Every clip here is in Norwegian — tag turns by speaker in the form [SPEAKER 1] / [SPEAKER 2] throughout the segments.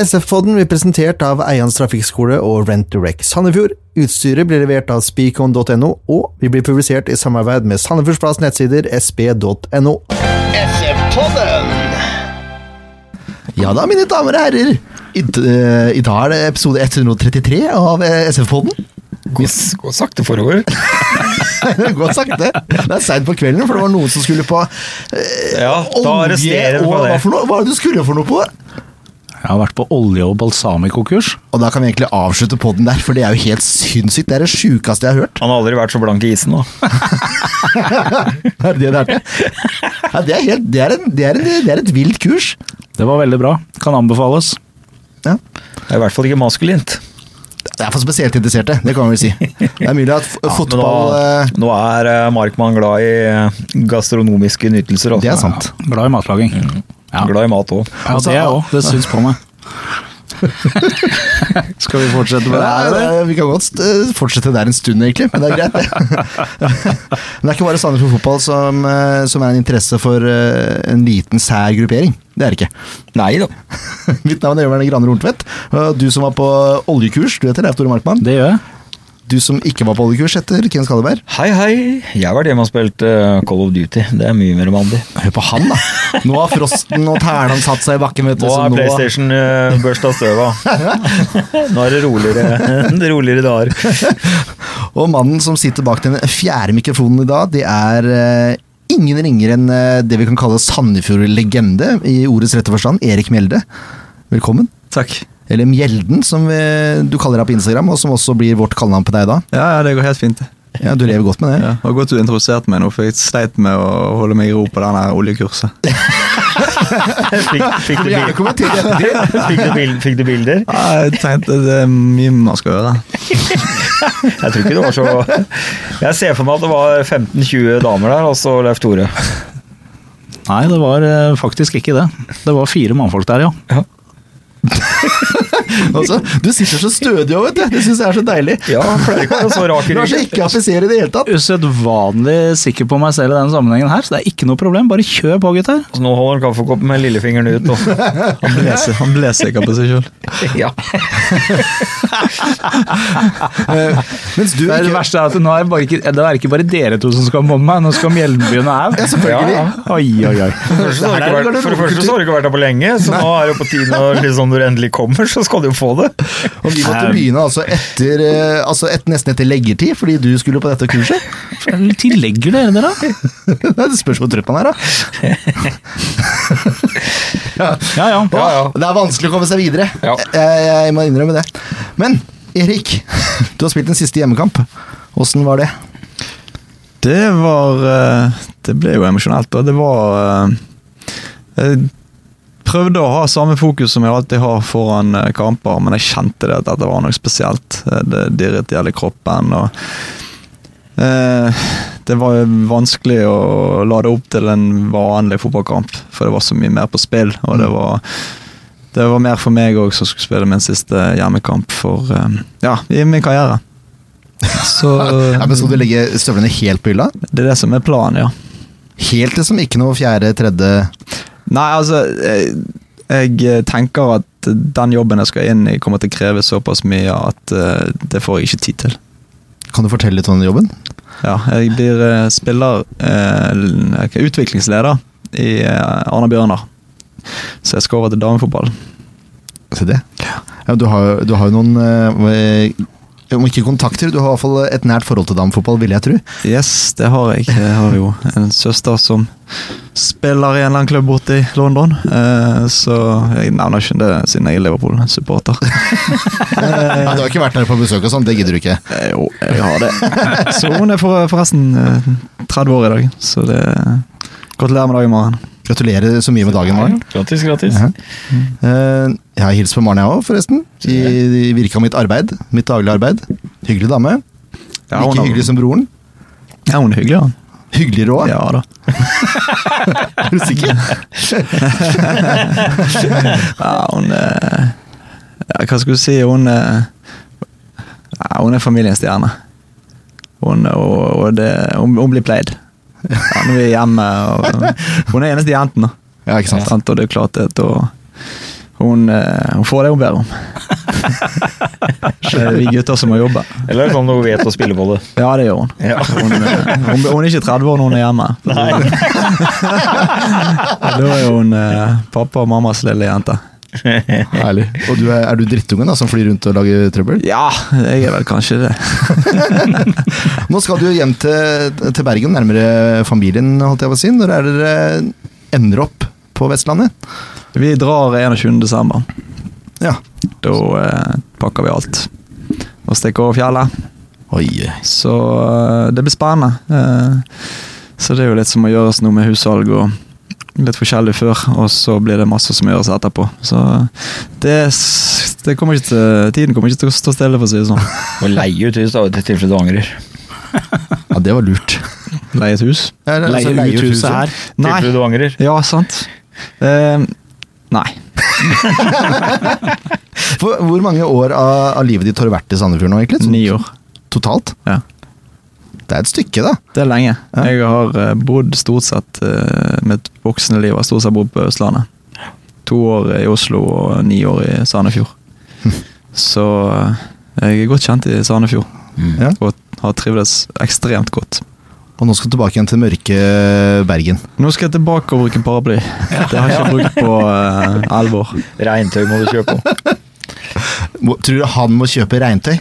[SPEAKER 1] SF-podden blir presentert av Eians trafikkskole og Rent Direct Sandefjord. Utstyret blir levert av speakon.no, og vi blir publisert i samarbeid med Sandefjordsplass nettsider sp.no. Ja da, mine damer og herrer. I, d- eh, i dag er det episode 133 av eh, SF-podden.
[SPEAKER 2] Gå, gå sakte forover.
[SPEAKER 1] Godt sagt, det. Det er seint på kvelden, for det var noen som skulle på
[SPEAKER 2] Ja, da arresterer
[SPEAKER 1] olje og
[SPEAKER 2] vi på
[SPEAKER 1] hva
[SPEAKER 2] det.
[SPEAKER 1] for noe? Hva er det du skulle for noe på?
[SPEAKER 3] Jeg har vært på olje- og balsamico-kurs.
[SPEAKER 1] Og da kan vi egentlig avslutte podden der, for det er jo helt sinnssykt. Det er det sjukeste jeg har hørt.
[SPEAKER 2] Han har aldri vært så blank i isen nå.
[SPEAKER 1] Er det det det er til? Ja, det, er helt, det, er en, det, er en, det er et vilt kurs.
[SPEAKER 3] Det var veldig bra. Kan anbefales.
[SPEAKER 1] Ja.
[SPEAKER 2] Det er i hvert fall ikke maskulint.
[SPEAKER 1] Det er for spesielt interesserte, det kan vi vel si. Det er mulig at f
[SPEAKER 2] Ja, men
[SPEAKER 1] fotball eh,
[SPEAKER 2] nå, nå er eh, Markmann glad i eh, gastronomiske nytelser. også.
[SPEAKER 1] Det er sant.
[SPEAKER 3] Glad i matlaging.
[SPEAKER 1] Mm.
[SPEAKER 3] Ja,
[SPEAKER 2] Glad i mat òg.
[SPEAKER 3] ja det er jeg òg. Det syns på meg. Skal vi fortsette med det
[SPEAKER 1] ja,
[SPEAKER 3] her, eller?
[SPEAKER 1] det- Vi kan godt eh, fortsette der en stund, egentlig, men det er greit. det. Men det er ikke bare Sandefjord fotball som, eh, som er en interesse for eh, en liten sær gruppering. Det er det ikke.
[SPEAKER 2] Nei da.
[SPEAKER 1] Mitt navn er Jørgen Graner Horntvedt. og Du som var på oljekurs, du heter Leif Tore Markmann.
[SPEAKER 3] Det gjør jeg.
[SPEAKER 1] Du som ikke var på oljekurs, heter Ken Skalleberg.
[SPEAKER 2] Hei, hei. Jeg har vært hjemme og spilt eh, Call of Duty. Det er mye mer mandig.
[SPEAKER 1] Hør på han, da! Nå har frosten og tærne satt seg i bakken. Vet du,
[SPEAKER 2] Nå
[SPEAKER 1] så
[SPEAKER 2] er PlayStation eh, børsta støv av. Nå er det roligere, roligere dager.
[SPEAKER 1] Og mannen som sitter bak den fjerde mikrofonen i dag, det er eh, ingen ringere enn eh, det vi kan kalle Sandefjord-legende i ordets rette forstand, Erik Mjelde. Velkommen.
[SPEAKER 4] Takk.
[SPEAKER 1] Eller Mjelden, som vi, du kaller deg på Instagram, og som også blir vårt kallenavn på deg da.
[SPEAKER 4] Ja, ja, det går helt fint. det.
[SPEAKER 1] Ja, Du lever godt med det.
[SPEAKER 4] Ja, og Godt du introduserte meg nå, for jeg sleit med å holde meg i ro på den her oljekurset.
[SPEAKER 2] Fikk, fikk, du, bil-
[SPEAKER 1] kommentere ettertid.
[SPEAKER 2] fikk, du, bil- fikk du bilder?
[SPEAKER 4] Ja, jeg tenkte det er mye man skal gjøre.
[SPEAKER 2] Jeg tror ikke det var så Jeg ser for meg at det var 15-20 damer der, og så Leif Tore.
[SPEAKER 3] Nei, det var eh, faktisk ikke det. Det var fire mannfolk der, ja.
[SPEAKER 1] Altså, du sitter så stødig òg, vet du. Det syns jeg er så deilig.
[SPEAKER 2] Ja, for det er ikke å være så rak i
[SPEAKER 1] Du er så
[SPEAKER 2] ryggen.
[SPEAKER 1] ikke affiser i det hele tatt.
[SPEAKER 3] Usedvanlig sikker på meg selv i denne sammenhengen her, så det er ikke noe problem. Bare kjør på, gutter.
[SPEAKER 2] Så Altså, nå holder han kaffekoppen med lillefingeren ut. Og,
[SPEAKER 4] Han ble, si- han ble sikker på seg sjøl.
[SPEAKER 2] ja. Eh,
[SPEAKER 1] Mens du
[SPEAKER 3] Det, er det
[SPEAKER 1] ikke
[SPEAKER 3] verste er at nå er det, bare ikke, det er ikke bare dere to som skal mobbe meg, nå skal Mjelmbyen og
[SPEAKER 1] Ja,
[SPEAKER 3] Au.
[SPEAKER 1] selvfølgelig.
[SPEAKER 2] Ja, ja.
[SPEAKER 3] Oi, oi, oi.
[SPEAKER 2] For det første så har du ikke vært- for det første så har du ikke vært der på lenge, så nå er det på tide når liksom, når du endelig kommer, så skal du jo få det.
[SPEAKER 1] Og vi måtte begynne altså etter, eh, altså et, nesten etter leggertid, fordi du skulle på dette kurset.
[SPEAKER 3] Tillegger dere dere, da?
[SPEAKER 1] Nei, Det spørs hvor trøtt man er, da.
[SPEAKER 3] Ja, ja.
[SPEAKER 2] Ja, ja.
[SPEAKER 1] Det er vanskelig å komme seg videre.
[SPEAKER 2] Ja.
[SPEAKER 1] Jeg, jeg må innrømme det. Men Erik, du har spilt den siste hjemmekamp. Åssen var det?
[SPEAKER 4] Det var eh, Det ble jo emosjonelt, da. Det var eh, Jeg prøvde å ha samme fokus som jeg alltid har foran eh, kamper, men jeg kjente det at dette var noe spesielt. Eh, Det dirret i hele kroppen. og eh, Det var jo vanskelig å la det opp til en vanlig fotballkamp, for det var så mye mer på spill. og det var det var mer for meg òg, som skulle spille min siste hjemmekamp for, eh, ja, i min karriere. Så
[SPEAKER 1] Ja, men Skal du legge støvlene helt på hylla?
[SPEAKER 4] det er det som er planen, ja.
[SPEAKER 1] Helt liksom ikke noe fjerde, tredje
[SPEAKER 4] Nei, altså jeg, jeg tenker at den jobben jeg skal inn i, kommer til å kreve såpass mye at eh, det får jeg ikke tid til.
[SPEAKER 1] Kan du fortelle litt om den jobben?
[SPEAKER 4] Ja, jeg blir eh, spiller eh, l- ok, Utviklingsleder i uh, Arna Bjørnar. Så jeg skal over til damefotball.
[SPEAKER 1] Se det. Ja, du, har, du har jo noen eh, eh, Om ikke kontakter, du har i hvert fall et nært forhold til damefotball, vil jeg tro.
[SPEAKER 4] Eh. Yes, det har jeg. Jeg har jo en søster som spiller i en eller annen klubb borte i London. eh, så jeg nevner ikke det siden jeg er Liverpool-supporter.
[SPEAKER 1] Ja, du har ikke vært der på besøk og sånn, det gidder du ikke.
[SPEAKER 4] Eh, Jo, jeg har det. Så hun er for, forresten eh, 30 år i dag, så det Gratulerer med dagen, Maren.
[SPEAKER 1] Gratulerer så mye med dagen, Maren.
[SPEAKER 2] Gratis, gratis.
[SPEAKER 1] Ja. Eh, Jeg har hilst på Maren, jeg òg, forresten. I i virka mitt arbeid. Mitt daglige arbeid. Hyggelig dame.
[SPEAKER 4] Ja, hun
[SPEAKER 1] Like
[SPEAKER 4] er-
[SPEAKER 1] hyggelig som broren.
[SPEAKER 4] Ja, hun er hyggelig, ja.
[SPEAKER 1] Hyggeligere òg.
[SPEAKER 4] Ja da.
[SPEAKER 1] Er du sikker?
[SPEAKER 4] Ja, hun er ja, Hva skal du si? Hun er ja, Hun er familiens stjerne. Hun, og, og det, hun, hun blir played. Ja, når vi er hjemme og, Hun er eneste jenten, da.
[SPEAKER 1] Ja, ikke sant.
[SPEAKER 4] Sant? Og det er klart det, da Hun, eh, hun får det hun ber om. Det er vi gutter som må jobbe.
[SPEAKER 2] Eller sånn hun vet å spille på det.
[SPEAKER 4] Ja, det gjør hun.
[SPEAKER 2] Ja.
[SPEAKER 4] Hun, eh, hun, hun er ikke 30 år når hun er hjemme. Da er hun eh, pappa og mammas lille jente.
[SPEAKER 1] Herlig. Og du er, er du drittungen da, som flyr rundt og lager trøbbel?
[SPEAKER 4] Ja, jeg er vel kanskje det.
[SPEAKER 1] Nå skal du jo hjem til, til Bergen, nærmere familien, holdt jeg på å si. Når er dere ender opp på Vestlandet?
[SPEAKER 4] Vi drar 21. desember.
[SPEAKER 1] Ja.
[SPEAKER 4] Da eh, pakker vi alt og stikker over fjellet.
[SPEAKER 1] Oi.
[SPEAKER 4] Så eh, det blir spennende. Eh, så det er jo litt som å gjøres noe med hussalg og litt forskjellig før, og så blir det masse som gjøres etterpå. Så det, s- det kommer ikke til, tiden kommer ikke til å stå stille, for å si det sånn.
[SPEAKER 2] Må leie ut huset da, i tilfelle du angrer.
[SPEAKER 1] Ja, det var lurt.
[SPEAKER 4] Leie et hus?
[SPEAKER 1] Ja, altså,
[SPEAKER 3] Leie ut huset her.
[SPEAKER 4] Nei.
[SPEAKER 2] Tilfelle du angrer.
[SPEAKER 4] Ja, sant. Eh, nei.
[SPEAKER 1] For, hvor mange år av, av livet ditt har du vært i Sandefjord nå, egentlig? Sånn
[SPEAKER 4] Ni år.
[SPEAKER 1] Totalt?
[SPEAKER 4] Ja.
[SPEAKER 1] Det er et stykke, da.
[SPEAKER 4] Det er lenge.
[SPEAKER 1] Ja.
[SPEAKER 4] Jeg har eh, bodd stort sett eh, mitt voksne liv har stort sett bodd på Østlandet. To år i Oslo og ni år i Sandefjord. Så eh, jeg er godt kjent i Sandefjord
[SPEAKER 1] Ja.
[SPEAKER 4] og har trivdes ekstremt godt.
[SPEAKER 1] Og nå skal du tilbake igjen til mørke Bergen.
[SPEAKER 4] Nå skal jeg tilbake og bruke paraply. Det har jeg ikke brukt på eh, elleve år.
[SPEAKER 2] Regntøy må du kjøpe.
[SPEAKER 1] Må- Tror du han må kjøpe regntøy?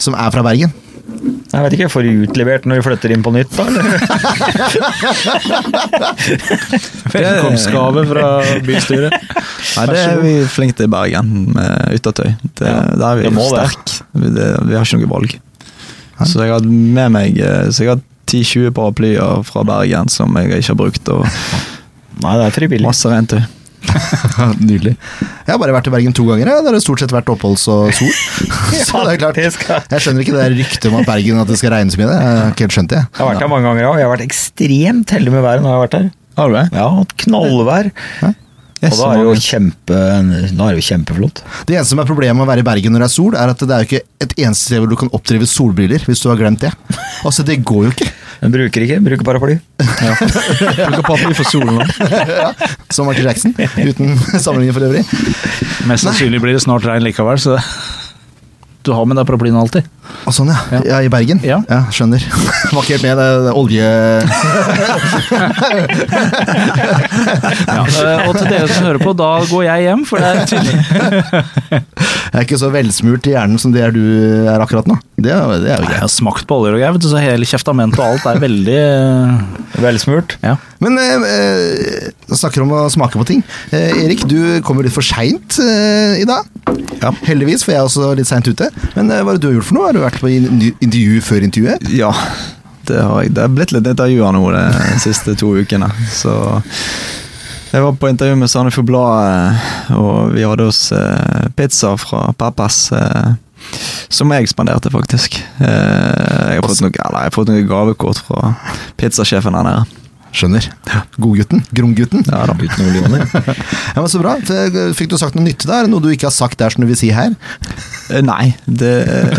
[SPEAKER 1] Som er fra Bergen?
[SPEAKER 2] Jeg vet ikke, Får de utlevert når de flytter inn på nytt, da? Eller?
[SPEAKER 3] Velkomstgave fra bystyret.
[SPEAKER 4] Nei, det er vi flinke til i Bergen med yttertøy. Det,
[SPEAKER 2] Ja,
[SPEAKER 4] Der er vi
[SPEAKER 2] det må det.
[SPEAKER 4] sterk. Vi, det, vi har ikke noe valg. Så jeg har hatt med meg eh, Så jeg har 10-20 paraplyer fra Bergen som jeg ikke har brukt, og
[SPEAKER 2] Nei, det er frivillig.
[SPEAKER 4] masse regntøy.
[SPEAKER 1] Nydelig. Jeg har bare vært i Bergen to ganger. Jeg. Det har stort sett vært oppholds og sol. Så det er klart.
[SPEAKER 2] Faktisk, ja.
[SPEAKER 1] Jeg skjønner ikke det der ryktet om at Bergen at det skal regne så mye. Det har jeg ikke helt skjønt det.
[SPEAKER 2] Jeg har vært her mange ganger òg. Jeg har vært ekstremt heldig med været når jeg har vært her.
[SPEAKER 4] Har du det?
[SPEAKER 2] Ja, Knallvær. Og da er det jo kjempe, da er det jo kjempeflott.
[SPEAKER 1] Det eneste som er problemet med å være i Bergen når det er sol, er at det er jo ikke et eneste sted hvor du kan oppdrive solbriller, hvis du har glemt det. Altså, det går jo ikke.
[SPEAKER 2] Den bruker ikke, bruker paraply.
[SPEAKER 4] Bruker paraply for solen nå.
[SPEAKER 1] Som Michael Jackson, uten sammenligning for øvrig.
[SPEAKER 3] Mest sannsynlig blir det snart regn likevel, så du har med deg paraplyen alltid.
[SPEAKER 1] Og sånn, ja. ja. I Bergen?
[SPEAKER 3] Ja.
[SPEAKER 1] Skjønner. Var ikke helt med, det, det olje...
[SPEAKER 3] Eh, Og til dere som hører på, da går jeg hjem, for det er tydelig.
[SPEAKER 1] Jeg er ikke så velsmurt i hjernen som det er du er akkurat nå. Det er, det er jo
[SPEAKER 3] Jeg
[SPEAKER 1] greit.
[SPEAKER 3] har smakt på oljer og greier, vet du, så hele kjeftamentet og alt er veldig eh,
[SPEAKER 2] Velsmurt.
[SPEAKER 3] Ja.
[SPEAKER 1] Men eh, eh, jeg snakker om å smake på ting. Eh, Erik, du kommer litt for seint eh, i dag.
[SPEAKER 4] Ja.
[SPEAKER 1] Heldigvis, for jeg er også litt seint ute. Men eh, hva er det du har gjort for noe? Har du vært på in- intervju før intervjuet?
[SPEAKER 4] Ja, det har jeg. Det er blitt litt intervjuer nå eh, de siste to ukene. Så jeg var på intervju med Sandefjord Blad, eh, og vi hadde oss eh, pizza fra Pappas. eh, Som jeg spanderte, faktisk. Eh, Jeg har fått noe, eller, jeg har fått noe gavekort fra pizzasjefen her nede.
[SPEAKER 1] Skjønner. Godgutten. Gromgutten.
[SPEAKER 4] Ja da.
[SPEAKER 2] Uten noen millioner.
[SPEAKER 1] Ja, men så bra. F- Fikk du sagt noe nyttig der? Noe du ikke har sagt der som du vil si her?
[SPEAKER 4] Eh, Nei, det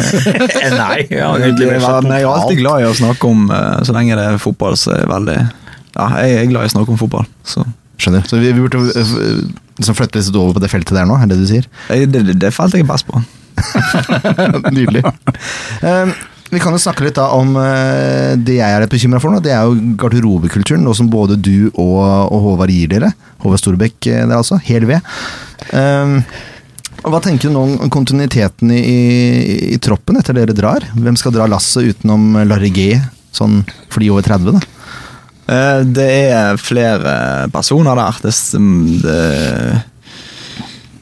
[SPEAKER 2] Nei, jeg har
[SPEAKER 4] jeg,
[SPEAKER 2] utlevert seg
[SPEAKER 4] men jeg er alltid
[SPEAKER 2] totalt.
[SPEAKER 4] glad i å snakke om eh, Så lenge det er fotball, så er jeg veldig Ja, jeg er glad i å snakke om fotball. Så
[SPEAKER 1] Skjønner. Så vi, vi burde eh, f- liksom flytte litt over på det feltet der nå, er det det du sier?
[SPEAKER 4] jeg, det, det- det feltet jeg er best på.
[SPEAKER 1] Nydelig. Eh, vi kan jo snakke litt da om eh, det jeg er litt bekymra for nå. Det er jo garderobekulturen, nå som både du og, og Håvard gir dere. Håvard Storbekk, eh, der altså. Hel ved. Eh, hva tenker du nå om kontinuiteten i, i, i troppen etter dere drar? Hvem skal dra lasset utenom Larry G, sånn for de over 30, da?
[SPEAKER 4] Eh, Det er flere personer der. Det, s-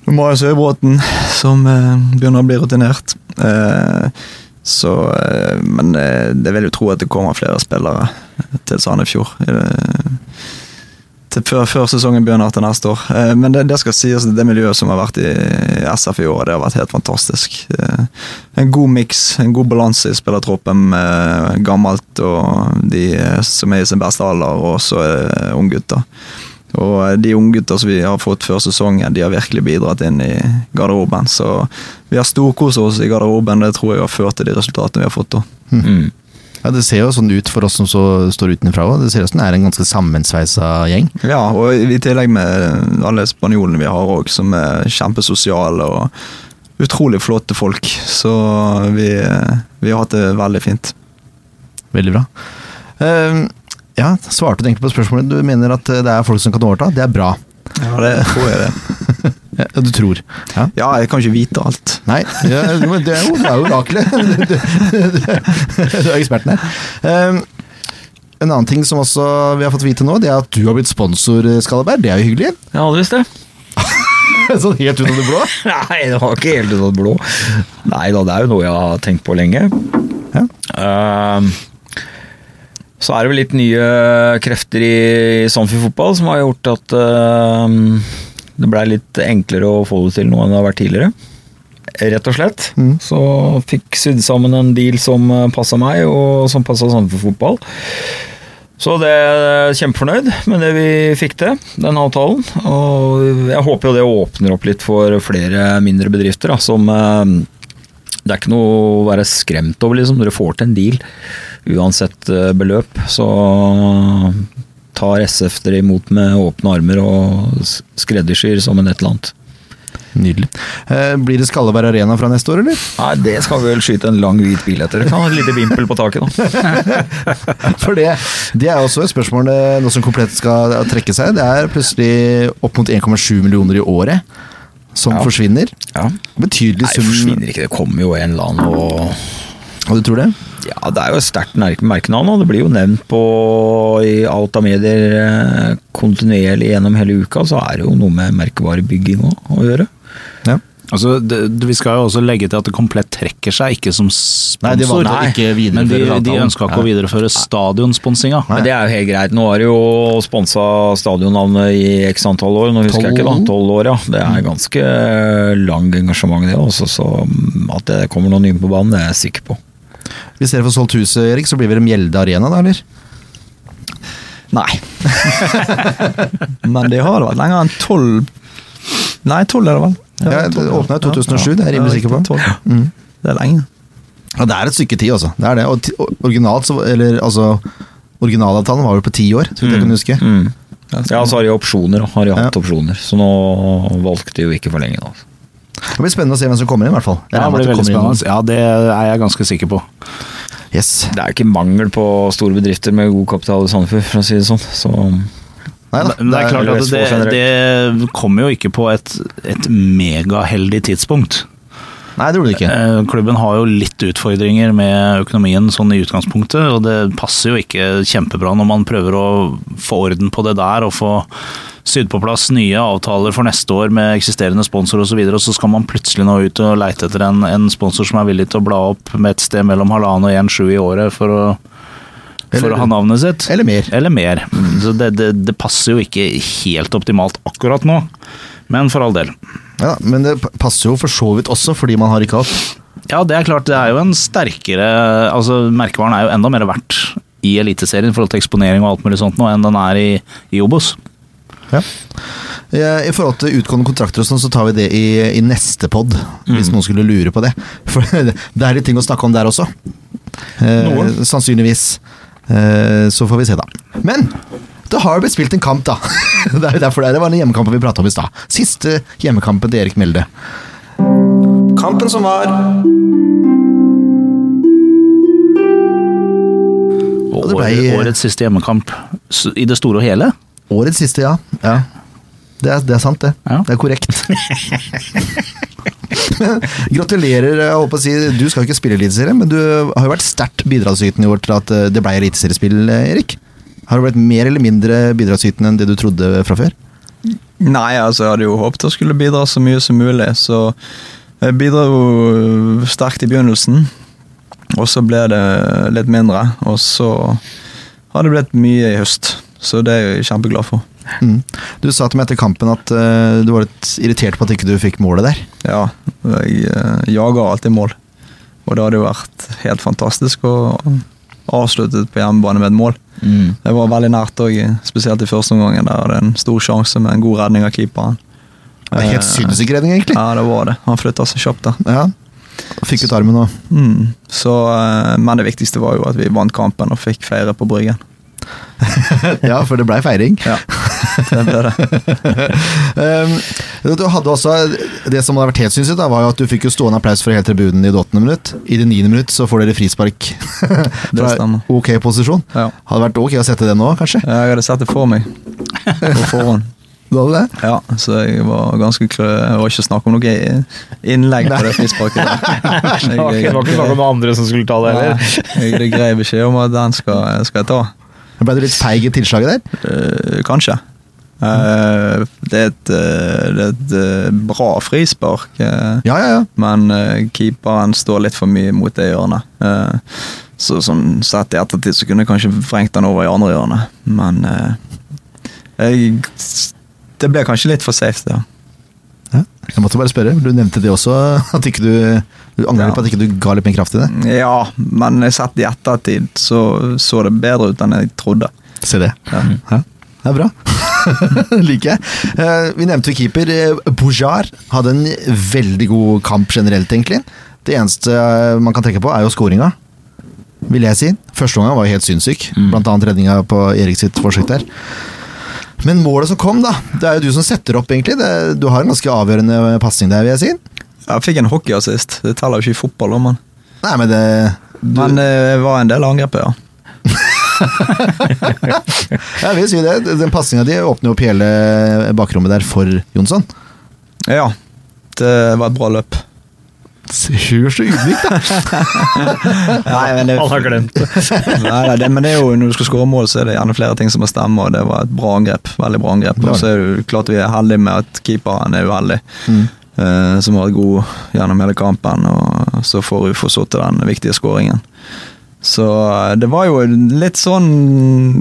[SPEAKER 4] det Marius Høybråten, som eh, begynner å bli rutinert. Eh, Så, eh, men eh, jeg vil jo tro at det kommer flere spillere til Sandefjord. i det- Til før, før sesongen begynner til neste år. Eh, Men det, det skal sies at det miljøet som har vært i SF i år, det har vært helt fantastisk. Eh, En god miks, en god balanse i spillertroppen. eh, Gammelt og de eh, som er i sin beste alder, og også eh, unggutter. Og de unggutta som vi har fått før sesongen, de har virkelig bidratt inn i garderoben. Så vi har storkost oss i garderoben, det tror jeg har ført til de resultatene vi har fått da.
[SPEAKER 2] Mm.
[SPEAKER 1] Ja, Det ser jo sånn ut for oss som så står utenfra òg. Det ser ut som det er en ganske sammensveisa gjeng.
[SPEAKER 4] Ja, og i i tillegg med alle spanjolene vi har òg, som er kjempesosiale og utrolig flotte folk. Så vi, vi har hatt det veldig fint.
[SPEAKER 1] Veldig bra. Ehm, ja, svarte du egentlig på spørsmålet? Du mener at eh, det er folk som kan overta? Det er bra.
[SPEAKER 4] Ja, det tror jeg det.
[SPEAKER 1] Ja, du tror. Ja.
[SPEAKER 4] Ja, jeg kan ikke vite alt.
[SPEAKER 1] Nei, ja, jo, men det er jo, det er jo oraklet. Du, du, du er eksperten her. Ehm, en annen ting som også vi har fått vite nå, det er at du har blitt sponsor, Skalleberg. Det er jo hyggelig.
[SPEAKER 2] Jeg hadde visst det.
[SPEAKER 1] Sånn helt ut av det blå.
[SPEAKER 2] Nei, det var ikke helt ut av det blå. Nei da, det er jo noe jeg har tenkt på lenge.
[SPEAKER 1] Ja.
[SPEAKER 2] Ehm, så er det vel litt nye krefter i, i Samfi fotball som har gjort at ehm, det blei litt enklere å få det til nå enn det har vært tidligere. Rett og slett.
[SPEAKER 1] Mm.
[SPEAKER 2] Så fikk sydd sammen en deal som passa meg, og som passa Samfi fotball. Så det er kjempefornøyd med det vi fikk til, den avtalen. Og jeg håper jo det åpner opp litt for flere mindre bedrifter, da, som eh, Det er ikke noe å være skremt over, liksom. Dere får til en deal uansett eh, beløp. Så eh, tar SF dere imot med åpne armer og s- skreddersyr som en et eller annet.
[SPEAKER 1] Nydelig. Eh, blir det Skalleberg Arena fra neste år, eller?
[SPEAKER 2] Nei, det skal vi vel skyte en lang hvit bil etter. Kan ha et lite vimpel på taket, da.
[SPEAKER 1] For det, det er også et spørsmål eh, nå som komplett skal trekke seg. Det er plutselig opp mot 1,7 millioner i året som
[SPEAKER 2] Ja.
[SPEAKER 1] forsvinner.
[SPEAKER 2] Ja.
[SPEAKER 1] Betydelig
[SPEAKER 2] Nei, det
[SPEAKER 1] sum.
[SPEAKER 2] forsvinner ikke. Det kommer jo en eller annen og
[SPEAKER 1] Og du tror det?
[SPEAKER 2] Ja, det er jo et sterkt merke- merkenavn, og det blir jo nevnt på i alt av medier eh, kontinuerlig gjennom hele uka, så er det jo noe med merkevarebygging òg å gjøre.
[SPEAKER 1] Ja.
[SPEAKER 3] Altså, det, det- vi skal jo også legge til at det komplett trekker seg, ikke som sponsor.
[SPEAKER 1] Nei, de valgte å
[SPEAKER 3] Nei,
[SPEAKER 1] ikke videreføre
[SPEAKER 3] Men de, de
[SPEAKER 1] avtalen.
[SPEAKER 3] ønska ikke å videreføre stadionsponsinga.
[SPEAKER 2] Men det er jo helt greit. Nå har de jo sponsa stadionnavnet i x antall år, nå husker jeg ikke da.
[SPEAKER 1] Tolv?
[SPEAKER 2] Tolv år, ja. Det er ganske lang engasjement det også, så mm, at det kommer noen nye på banen, det er jeg sikker på.
[SPEAKER 1] Hvis dere får solgt huset, Erik, så blir det Mjelde Arena, da, eller?
[SPEAKER 4] Nei. Men de har det vært lenger enn tolv Nei, tolv er det vel?
[SPEAKER 1] Ja, det åpna i 2007, det er jeg rimelig sikker på.
[SPEAKER 4] 12.
[SPEAKER 1] Mm.
[SPEAKER 4] Det er lenge.
[SPEAKER 1] Ja, det er et stykke tid, altså. Det er det. Og ti- og originalt, så, eller altså Originalavtalen var vel på ti år, så vidt jeg kan huske.
[SPEAKER 2] Mm.
[SPEAKER 4] Ja, så-
[SPEAKER 2] Ja, så har de opsjoner, og har de hatt
[SPEAKER 1] Ja.
[SPEAKER 2] opsjoner. Så nå valgte de jo ikke for lenge nå.
[SPEAKER 1] Det blir spennende å se hvem som kommer inn, i hvert fall. Jeg
[SPEAKER 3] Ja,
[SPEAKER 1] regner
[SPEAKER 3] det
[SPEAKER 1] med
[SPEAKER 3] blir
[SPEAKER 1] at
[SPEAKER 3] veldig
[SPEAKER 1] kommer inn
[SPEAKER 3] spennende. Ja, det er jeg ganske sikker på.
[SPEAKER 1] noen. Yes.
[SPEAKER 2] Det er jo ikke mangel på store bedrifter med god kapital i Sandefjord, for å si det sånn. Så
[SPEAKER 1] Nei da.
[SPEAKER 3] Men det er klart at det, det kommer jo ikke på et, et megaheldig tidspunkt.
[SPEAKER 1] Nei, det gjorde det ikke.
[SPEAKER 3] Eh, Klubben har jo litt utfordringer med økonomien sånn i utgangspunktet, og det passer jo ikke kjempebra når man prøver å få orden på det der og få sydd på plass nye avtaler for neste år med eksisterende sponsor osv., og så skal man plutselig nå ut og leite etter en, en sponsor som er villig til å bla opp med et sted mellom halvannen og 1,7 i året for å, for
[SPEAKER 1] Eller-
[SPEAKER 3] å ha navnet sitt.
[SPEAKER 1] Eller mer.
[SPEAKER 3] Eller mer. Så det, det, det passer jo ikke helt optimalt akkurat nå, men for all del.
[SPEAKER 1] Ja, da. men det p- passer jo for så vidt også, fordi man har ikke hatt
[SPEAKER 3] Ja, det er klart. Det er jo en sterkere Altså, merkevaren er jo enda mer verdt i Eliteserien i forhold til eksponering og alt mulig sånt nå, enn den er i, i Obos.
[SPEAKER 1] Eh, I forhold til utgående kontrakter og sånn, så tar vi det i, i neste pod, hvis noen skulle lure på det. For det er litt ting å snakke om der også. Eh,
[SPEAKER 2] Noen.
[SPEAKER 1] Sannsynligvis. Eh, så får vi se, da. Men det har jo blitt spilt en kamp, da. det er jo derfor det, er. det var den hjemmekampen vi prata om i stad. Siste hjemmekampen til Erik Mjelde.
[SPEAKER 4] Kampen som var
[SPEAKER 3] Og
[SPEAKER 1] det ble-
[SPEAKER 3] året- årets siste hjemmekamp s- i det store og hele.
[SPEAKER 1] Årets siste, ja. ja. Det, er, det er sant, det.
[SPEAKER 3] Ja.
[SPEAKER 1] Det er korrekt. Men Gratulerer. jeg håper å si Du skal ikke spille Eliteserien, men du har jo vært sterkt bidragsytende i år til at eh, det ble eliteseriespill, eh, Erik. Har du blitt mer eller mindre bidragsytende enn det du trodde fra før?
[SPEAKER 4] Nei, altså jeg hadde jo håpet å skulle bidra så mye som mulig, så jeg bidro jo sterkt i begynnelsen, og så ble det litt mindre, og så har det blitt mye i høst, så det er jeg kjempeglad for.
[SPEAKER 1] Mm. Du sa til meg etter kampen at eh, du var litt irritert på at ikke du fikk målet der.
[SPEAKER 4] Ja, jeg eh, jager alltid mål, og det hadde jo vært helt fantastisk å avslutte på hjemmebane med et mål.
[SPEAKER 2] mm.
[SPEAKER 4] Det var veldig nært òg, spesielt i første omgang, der det er en stor sjanse med en god redning av keeperen.
[SPEAKER 1] Det er helt
[SPEAKER 4] Eh,
[SPEAKER 1] sinnssyk redning, egentlig.
[SPEAKER 4] Ja, det var det. Han flytta seg kjapt der.
[SPEAKER 1] Ja. Fikk ut armen òg.
[SPEAKER 4] Mm. Så, eh, men det viktigste var jo at vi vant kampen og fikk feire på Bryggen.
[SPEAKER 1] ja, for det blei feiring.
[SPEAKER 4] Ja, det ble det.
[SPEAKER 1] Um, du hadde også Det som hadde vært helt synssykt, da, var jo at du fikk jo stående applaus fra hele tribunen i det åttende minutt. I det niende minutt så får dere frispark fra
[SPEAKER 4] stemmer.
[SPEAKER 1] ok posisjon.
[SPEAKER 4] Ja.
[SPEAKER 1] Hadde vært ok å sette det nå, kanskje?
[SPEAKER 4] Ja, Jeg hadde sett det for meg på forhånd.
[SPEAKER 1] Du hadde det?
[SPEAKER 4] Ja, så jeg var ganske klø... Jeg var ikke snakk om noe innlegg på det frisparket. der.
[SPEAKER 2] Det var ikke det var ikke snakk om noen andre som skulle ta det heller.
[SPEAKER 4] Nei, jeg- Det grei beskjed om at den skal, skal jeg ta.
[SPEAKER 1] Ble du litt feig i tilslaget der?
[SPEAKER 4] Eh, kanskje. Eh, det er et, eh, det er et eh, bra frispark, eh,
[SPEAKER 1] Ja, ja, ja.
[SPEAKER 4] men eh, keeperen står litt for mye mot det hjørnet. Eh, så sånn sett i ettertid så kunne jeg kanskje vrengt den over i andre hjørnet, men eh, jeg, Det ble kanskje litt for safe, det.
[SPEAKER 1] Ja. Jeg måtte bare spørre. Du nevnte det også, at ikke du, du angrer
[SPEAKER 4] Ja.
[SPEAKER 1] litt på at ikke du ga litt mer kraft i det.
[SPEAKER 4] Ja, men sett i ettertid så så det bedre ut enn jeg trodde.
[SPEAKER 1] Se det.
[SPEAKER 4] Ja.
[SPEAKER 2] Mhm.
[SPEAKER 1] Det er bra. Liker jeg. Eh, Vi nevnte jo keeper. eh, Bojar hadde en veldig god kamp generelt, egentlig. Det eneste eh, man kan trekke på, er jo skåringa, vil jeg si. Første omgang var jo helt sinnssyk. Blant annet redninga på Erik sitt forsøk der. Men målet som kom, da. Det er jo du som setter opp, egentlig. Det, du har en ganske avgjørende pasning der, vil jeg si.
[SPEAKER 4] Jeg fikk en hockeyassist. Det teller jo ikke i fotball, da, men
[SPEAKER 1] Nei, men det du,
[SPEAKER 4] Men eh, det var en del angrep, ja.
[SPEAKER 1] Jeg vil si det. Den pasninga di åpner jo opp hele bakrommet der for Jonsson.
[SPEAKER 4] Ja, det var et bra løp.
[SPEAKER 1] Hør så ydmyk, da!
[SPEAKER 4] Nei, men det,
[SPEAKER 2] Alle har glemt det.
[SPEAKER 4] nei, nei, det, men det er jo, når du skal skåre mål, så er det gjerne flere ting som må stemme, og det var et bra angrep. Veldig bra angrep. Og så er det jo klart vi er heldige med at keeperen er uheldig,
[SPEAKER 1] Mm.
[SPEAKER 4] eh, som har vært god gjennom hele kampen, og så får UFO så til den viktige skåringen. Så eh, det var jo litt sånn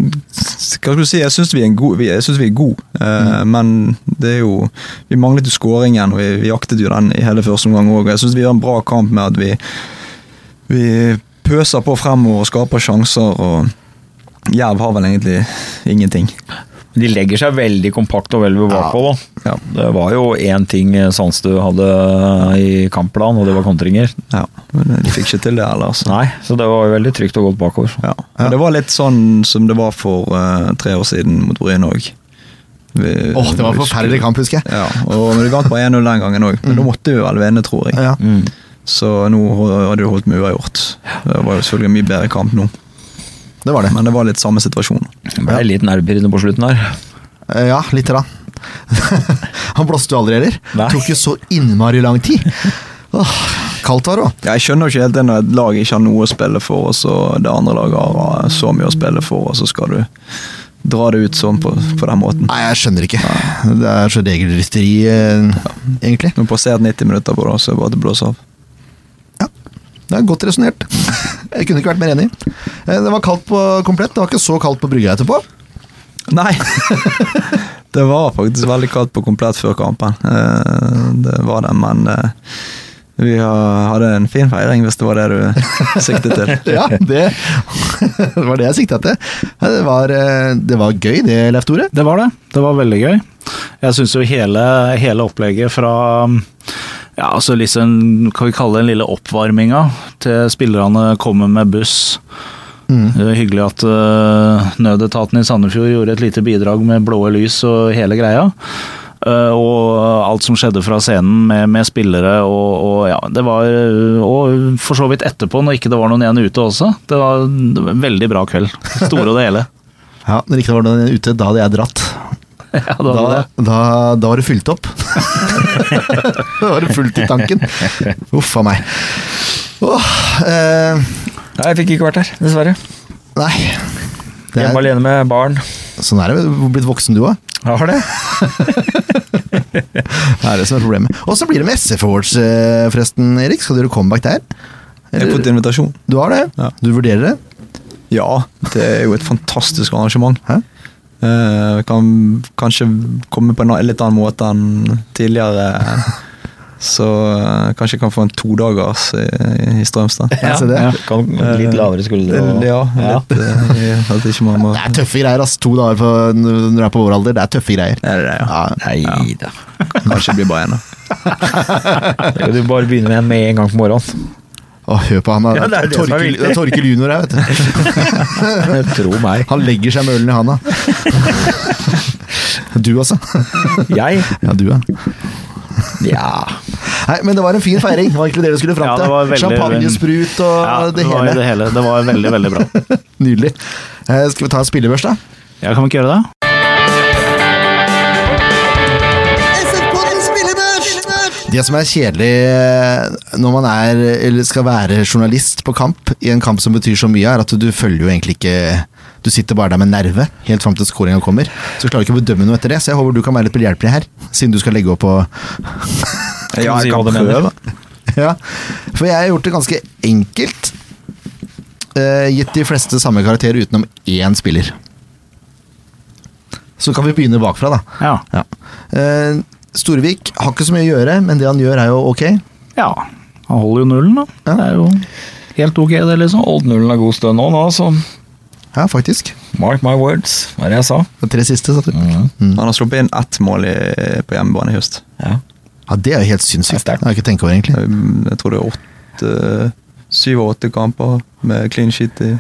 [SPEAKER 4] Hva skal du si? Jeg syns vi er gode, jeg synes vi er god, eh, men det er jo Vi manglet jo skåringen, og vi, vi jaktet jo den i hele første omgang òg. Jeg syns vi gjør en bra kamp med at vi Vi pøser på fremover og skaper sjanser, og Jerv har vel egentlig ingenting.
[SPEAKER 2] De legger seg veldig kompakt og vel bakpå, da.
[SPEAKER 4] Ja.
[SPEAKER 2] Det var jo én ting eh, Sandstø hadde eh, i kampplan, og det var kontringer.
[SPEAKER 4] ja. Men de fikk ikke til det ellers.
[SPEAKER 2] Nei, så det var jo veldig trygt og godt bakover.
[SPEAKER 4] Ja. Og det var litt sånn som det var for eh, tre år siden mot Bryn òg.
[SPEAKER 1] Åh, det var en forferdelig kamp, husker jeg.
[SPEAKER 4] Ja, og men Vi vant bare 1-0 den gangen òg, men da måtte vi vel vinne, tror jeg.
[SPEAKER 1] Ja.
[SPEAKER 2] Mm.
[SPEAKER 4] Så nå hadde det holdt med uavgjort. Det var jo selvfølgelig en mye bedre kamp nå,
[SPEAKER 1] Det var det.
[SPEAKER 4] men det var litt samme situasjon.
[SPEAKER 2] Det ble litt nerver på slutten her.
[SPEAKER 1] Eh, Ja, litt rann. Han blåste jo aldri heller.
[SPEAKER 2] Nei.
[SPEAKER 1] Tok jo så innmari lang tid. Åh, kaldt var det òg.
[SPEAKER 4] Ja, jeg skjønner jo ikke helt det når et lag ikke har noe å spille for, og så det andre laget har eh, så mye å spille for, og så skal du dra det ut sånn på, på den måten.
[SPEAKER 1] Nei, jeg skjønner ikke. Det er så regelrytteri, eh, egentlig.
[SPEAKER 4] Nå passerte 90 minutter på det, så jeg bare til å blåse av.
[SPEAKER 1] Det er godt resonnert. Jeg kunne ikke vært mer enig. Eh, Det var kaldt på komplett. Det var ikke så kaldt på brygga etterpå.
[SPEAKER 4] Nei! det var faktisk veldig kaldt på komplett før kampen. Eh, Det var det, men eh, vi har- hadde en fin feiring, hvis det var det du siktet til.
[SPEAKER 1] Ja, det, det var det jeg sikta etter. Ja, Det var, eh, det var gøy det, Leif Tore.
[SPEAKER 3] Det var det. Det var veldig gøy. Jeg syns jo hele, hele opplegget fra ja, altså liksom, kan vi kalle det den lille oppvarminga til spillerne kommer med buss. Det var hyggelig at eh, nødetaten i Sandefjord gjorde et lite bidrag med blåe lys og hele greia. Eh, og alt som skjedde fra scenen med, med spillere og, og ja, det var Og for så vidt etterpå, når ikke det var noen igjen ute også. Det var en veldig bra kveld. Store og det hele.
[SPEAKER 1] Ja, men ikke det var noen ute. Da hadde jeg dratt.
[SPEAKER 3] Ja, det var
[SPEAKER 1] Da,
[SPEAKER 3] det.
[SPEAKER 1] da, da var det fylt opp. da var det fullt i tanken. Uff a meg. Åh, eh,
[SPEAKER 2] Nei, jeg fikk ikke vært der, dessverre.
[SPEAKER 1] nei. Det
[SPEAKER 2] Hjemme
[SPEAKER 1] er,
[SPEAKER 2] alene med barn.
[SPEAKER 1] sånn er det. Du er blitt voksen, du òg.
[SPEAKER 2] Jeg har det.
[SPEAKER 1] Det er det som er problemet. Og så blir det med SF Awards, eh, forresten, Erik. Skal dere comeback der?
[SPEAKER 4] Jeg har fått
[SPEAKER 1] Eller,
[SPEAKER 4] invitasjon.
[SPEAKER 1] du har det?
[SPEAKER 4] Ja.
[SPEAKER 1] Du vurderer det?
[SPEAKER 4] Ja, det er jo et fantastisk arrangement.
[SPEAKER 1] Hæ?
[SPEAKER 4] Eh, kan kanskje komme på en a- litt annen måte enn tidligere. Så eh, kanskje jeg kan få en todagers i, i Strømstad. Eh,
[SPEAKER 1] Ja, se det.
[SPEAKER 2] Kan litt lavere skuldre. og-
[SPEAKER 4] Ja,
[SPEAKER 2] Ja.
[SPEAKER 4] litt, eh, at ikke man må
[SPEAKER 1] Det er tøffe greier, ass. To dager på, når du er på vår alder. Det er tøffe greier.
[SPEAKER 4] Er det det, ja?
[SPEAKER 1] Ja,
[SPEAKER 2] Nei da.
[SPEAKER 4] Kanskje det blir bare én, da.
[SPEAKER 2] Du bare begynner med en med en gang på morgenen.
[SPEAKER 1] Å, hør på han da.
[SPEAKER 2] Ja, det er det som er
[SPEAKER 1] Torkil,
[SPEAKER 2] viktig.
[SPEAKER 1] det er Torkil junior her, vet du.
[SPEAKER 2] Tro meg.
[SPEAKER 1] Han legger seg med ølen i handa. Du, altså.
[SPEAKER 2] Jeg?
[SPEAKER 1] Ja, du, ja.
[SPEAKER 2] Ja.
[SPEAKER 1] Nei, men det var en fin feiring. Det var egentlig det du skulle fram
[SPEAKER 3] Ja,
[SPEAKER 1] til.
[SPEAKER 3] det var veldig-
[SPEAKER 1] Champagnesprut og
[SPEAKER 3] Ja,
[SPEAKER 1] det
[SPEAKER 3] var
[SPEAKER 1] hele.
[SPEAKER 3] det hele. Det var veldig, veldig bra.
[SPEAKER 1] Nydelig. Eh, skal vi ta en spillebørs, da?
[SPEAKER 3] Ja, kan vi ikke gjøre det?
[SPEAKER 1] Det som er kjedelig eh, når man er, eller skal være journalist på kamp, i en kamp som betyr så mye, er at du følger jo egentlig ikke Du sitter bare der med nerve helt fram til skåringa kommer. Så klarer du ikke å bedømme noe etter det, så jeg håper du kan være litt behjelpelig her, siden du skal legge opp og
[SPEAKER 2] Jeg kan si hva du mener.
[SPEAKER 1] Ja, for jeg har gjort det ganske enkelt. Eh, gitt de fleste samme karakter utenom én spiller. Så kan vi begynne bakfra, da.
[SPEAKER 3] Ja.
[SPEAKER 1] Ja. Eh, Storvik har ikke så mye å gjøre, men det han gjør, er jo ok.
[SPEAKER 3] ja. Han holder jo nullen, da.
[SPEAKER 1] Ja.
[SPEAKER 3] Det er jo helt ok, det, liksom.
[SPEAKER 2] Holdt nullen en god stund nå, nå, så
[SPEAKER 1] Ja, faktisk.
[SPEAKER 2] mark my words, hva er det jeg sa?
[SPEAKER 1] De tre siste satt du.
[SPEAKER 2] Mm.
[SPEAKER 1] Mm.
[SPEAKER 4] Han har sluppet inn ett mål i, på hjemmebane i høst.
[SPEAKER 2] Ja.
[SPEAKER 1] Ja, det er jo helt
[SPEAKER 2] Det er
[SPEAKER 1] sinnssykt. Det
[SPEAKER 2] sterkt.
[SPEAKER 1] har jeg ikke tenkt over, egentlig.
[SPEAKER 4] Jeg tror det er åtte Syv og åtte kamper med clean sheet i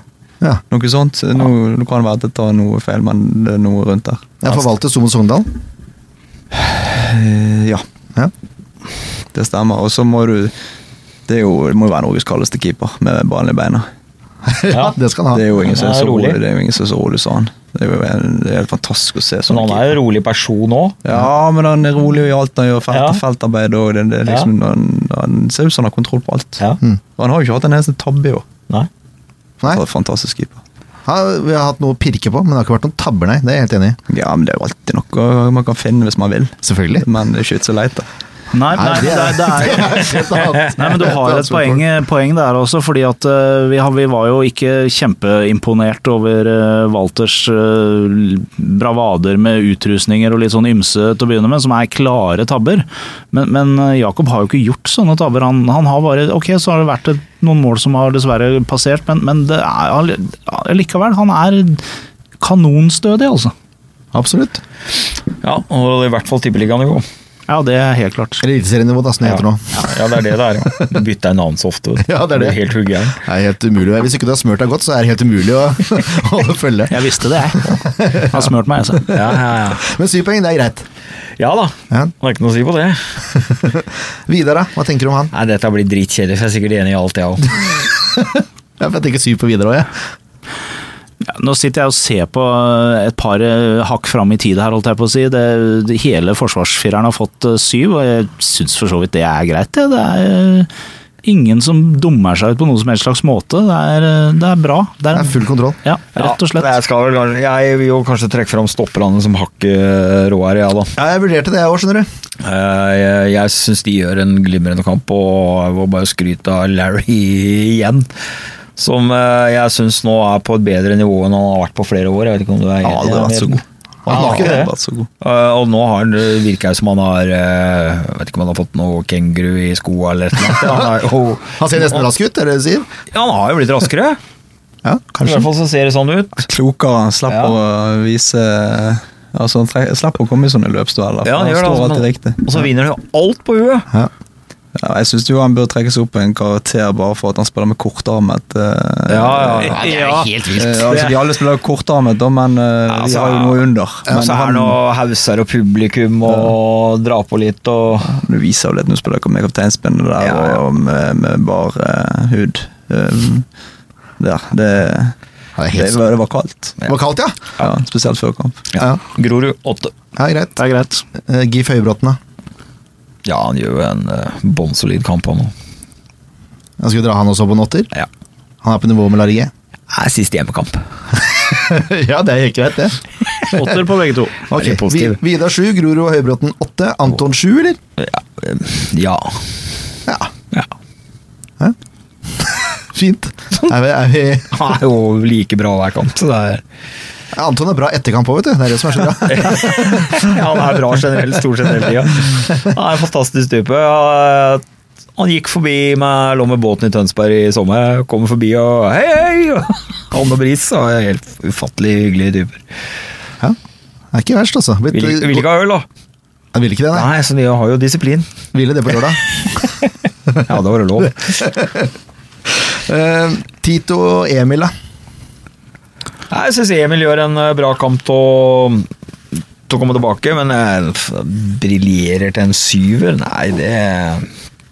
[SPEAKER 1] Ja.
[SPEAKER 4] noe sånt. Nå, nå kan det være at jeg tar noe feil, men det er noe rundt der.
[SPEAKER 1] Jeg forvalter Somo Sogndal.
[SPEAKER 4] Eh, Ja,
[SPEAKER 1] Ja.
[SPEAKER 4] det stemmer. Og så må du Det, er jo, det må jo være Norges kaldeste keeper med ballen i beina.
[SPEAKER 1] ja, det skal han
[SPEAKER 4] Det
[SPEAKER 1] ha.
[SPEAKER 4] er jo ingen som er
[SPEAKER 2] Han er
[SPEAKER 4] så rolig,
[SPEAKER 2] rolig.
[SPEAKER 4] det er jo ingen som er så rolig som han. Det er jo en- det er helt fantastisk å se
[SPEAKER 2] Men
[SPEAKER 4] sånne
[SPEAKER 2] han er jo en rolig person òg.
[SPEAKER 4] Ja, men han er rolig i alt han gjør. Felt,
[SPEAKER 2] Ja.
[SPEAKER 4] Feltarbeid og det, det er liksom, han, han ser ut som han har kontroll på alt.
[SPEAKER 2] Ja.
[SPEAKER 4] Og han har jo ikke hatt en eneste tabbe i år.
[SPEAKER 2] Nei.
[SPEAKER 1] Nei,
[SPEAKER 4] Han er en Fantastisk keeper.
[SPEAKER 1] ja, vi har hatt noe å pirke på, men det har ikke vært noen tabber, nei. Det er jeg helt enig i.
[SPEAKER 4] Ja, men det er jo alltid noe man kan finne hvis man vil.
[SPEAKER 1] Selvfølgelig.
[SPEAKER 4] Men det er ikke vits å leite.
[SPEAKER 3] Nei, nei,
[SPEAKER 1] Nei, det
[SPEAKER 3] det
[SPEAKER 1] er-
[SPEAKER 3] er, det er Nei, men Du har et poeng, poeng der også, fordi at eh, vi, har, vi var jo ikke kjempeimponert over eh, Walters eh, bravader med utrusninger og litt sånn ymse til å begynne med, som er klare tabber. Men, men eh, Jakob har jo ikke gjort sånne tabber. Han, han har bare Ok, så har det vært et, noen mål som har dessverre passert, men, men det er, all- allikevel, han er kanonstødig, altså.
[SPEAKER 1] Absolutt.
[SPEAKER 2] Ja, og i hvert fall tippeliganivå.
[SPEAKER 3] Ja, det er helt klart.
[SPEAKER 1] Eliteserienivå, da, som det
[SPEAKER 2] Ja.
[SPEAKER 1] heter nå.
[SPEAKER 2] ja, det er det det er. ja. Du bytter navn så ofte. vet du.
[SPEAKER 1] Ja, det er
[SPEAKER 2] Du
[SPEAKER 1] det.
[SPEAKER 2] Helt huggeren.
[SPEAKER 1] Det er helt umulig. Hvis ikke du har smurt deg godt, så er det helt umulig å holde følge.
[SPEAKER 3] Jeg visste det, jeg. Han smurte meg, altså. jeg, sa.
[SPEAKER 2] Ja, ja, ja.
[SPEAKER 1] Men syv poeng, det er greit.
[SPEAKER 2] ja da.
[SPEAKER 1] Ja.
[SPEAKER 2] Det er ikke noe å si på det.
[SPEAKER 1] Vidar, da? Hva tenker du om han?
[SPEAKER 2] Nei, dette blir dritkjedelig, for jeg er sikkert enig i alt, jeg òg.
[SPEAKER 1] Ja, for jeg tenker syv på Vidar òg, jeg.
[SPEAKER 3] Ja, Nå sitter jeg og ser på et par eh, hakk fram i tid her, holdt jeg på å si. Det, det, hele forsvarsfireren har fått eh, syv, og jeg syns for så vidt det er greit. Det, det er eh, ingen som dummer seg ut på noen som helst slags måte. Det er, eh, det er bra. Det
[SPEAKER 1] Det
[SPEAKER 3] er,
[SPEAKER 1] er full kontroll.
[SPEAKER 3] ja, rett og slett.
[SPEAKER 2] Jeg, skal vel, kanskje- jeg vil jo kanskje trekke fram stopperne som hakket råere, ja da.
[SPEAKER 1] Ja, jeg vurderte det, jeg òg, skjønner du.
[SPEAKER 2] Eh, Jeg, jeg syns de gjør en glimrende kamp, og jeg må bare skryte av Larry igjen. Som eh, jeg syns nå er på et bedre nivå enn han har vært på flere år. Jeg vet ikke om du er
[SPEAKER 4] Han har
[SPEAKER 2] enig?
[SPEAKER 4] aldri vært så god.
[SPEAKER 1] Han har ikke det.
[SPEAKER 4] vært så god.
[SPEAKER 2] Eh, og nå har han, det virker det som han har eh, Jeg vet ikke om han har fått noe kenguru i skoa eller et eller annet. Han, er, jo-
[SPEAKER 1] Han ser nesten rask ut, er det det du sier?
[SPEAKER 2] ja, han har jo blitt raskere.
[SPEAKER 1] Ja,
[SPEAKER 2] I
[SPEAKER 1] kanskje.
[SPEAKER 2] hvert fall så ser det sånn ut.
[SPEAKER 4] Klokere, han slipper å vise Altså, han tre- slipper å komme i sånne løpsdueller. for
[SPEAKER 2] Ja, han gjør det,
[SPEAKER 4] står
[SPEAKER 2] altså,
[SPEAKER 4] alltid
[SPEAKER 2] men-
[SPEAKER 4] riktig.
[SPEAKER 2] Og så vinner han jo alt på huet.
[SPEAKER 1] Ja.
[SPEAKER 4] Ja, jeg syns jo han bør trekke seg opp en karakter bare for at han spiller med kortarmet. eh,
[SPEAKER 2] Ja, ja.
[SPEAKER 1] det er helt
[SPEAKER 4] eh,
[SPEAKER 1] vilt.
[SPEAKER 4] altså, de alle spiller jo kortarmet, da, men eh,
[SPEAKER 2] Ja,
[SPEAKER 4] de
[SPEAKER 2] altså,
[SPEAKER 4] har jo noe under.
[SPEAKER 2] Og
[SPEAKER 4] Men
[SPEAKER 2] så er han
[SPEAKER 4] han,
[SPEAKER 2] og hauser og publikum og drar på litt og
[SPEAKER 4] du viser jo litt, nå spiller dere med kapteinspinnet der
[SPEAKER 2] Ja, ja.
[SPEAKER 4] og med, med bar eh, hud. Um, der.
[SPEAKER 1] Ja,
[SPEAKER 4] Det,
[SPEAKER 1] det er
[SPEAKER 4] det,
[SPEAKER 1] helt
[SPEAKER 4] var- det var kaldt.
[SPEAKER 1] Det var kaldt, ja?
[SPEAKER 4] Ja, spesielt før kamp.
[SPEAKER 1] Ja,
[SPEAKER 2] Grorud åtte.
[SPEAKER 1] ja greit.
[SPEAKER 3] Det er greit.
[SPEAKER 1] Eh, Gif Høybråten, da?
[SPEAKER 2] Ja, han gjør jo en uh, bånnsolid kamp, han òg.
[SPEAKER 1] Ja, Skal vi dra han også på en åtter?
[SPEAKER 2] Ja.
[SPEAKER 1] Han er på nivå med Larry G.
[SPEAKER 2] Er siste hjemmekamp.
[SPEAKER 1] ja, det er helt greit, det.
[SPEAKER 3] Åtter på begge to.
[SPEAKER 1] Ok,
[SPEAKER 2] Veldig positiv.
[SPEAKER 1] Vi- Vidar sju, Grorud og Høybråten åtte. Anton sju, eller?
[SPEAKER 2] Ja. eh, ja.
[SPEAKER 1] Ja,
[SPEAKER 2] ja.
[SPEAKER 1] fint. Er vi, er vi
[SPEAKER 2] Han er jo like bra hver kamp. Så det er,
[SPEAKER 1] Ja, Anton er bra etterkamp òg, vet du. Det er det som er så bra.
[SPEAKER 2] ja, han er bra generelt, stort sett hele tida. Han er en fantastisk type. Ja, eh, Han gikk forbi meg, lå med båten i Tønsberg i sommer. Kommer forbi og hei, hei! Anne Bris og er helt ufattelig hyggelige typer.
[SPEAKER 1] Ja. Det er ikke verst, altså. Blitt,
[SPEAKER 2] Vil, vil ikke ha øl, da.
[SPEAKER 1] Han ville ikke det, nei.
[SPEAKER 2] Nei, så de har jo disiplin.
[SPEAKER 1] Ville det på lørdag.
[SPEAKER 2] Ja, da var det lov.
[SPEAKER 1] Eh, Tito og Emil, da.
[SPEAKER 2] Nei, Jeg syns Emil gjør en eh, bra kamp til å, til å komme tilbake, men eh, f- briljerer til en syver? Nei, det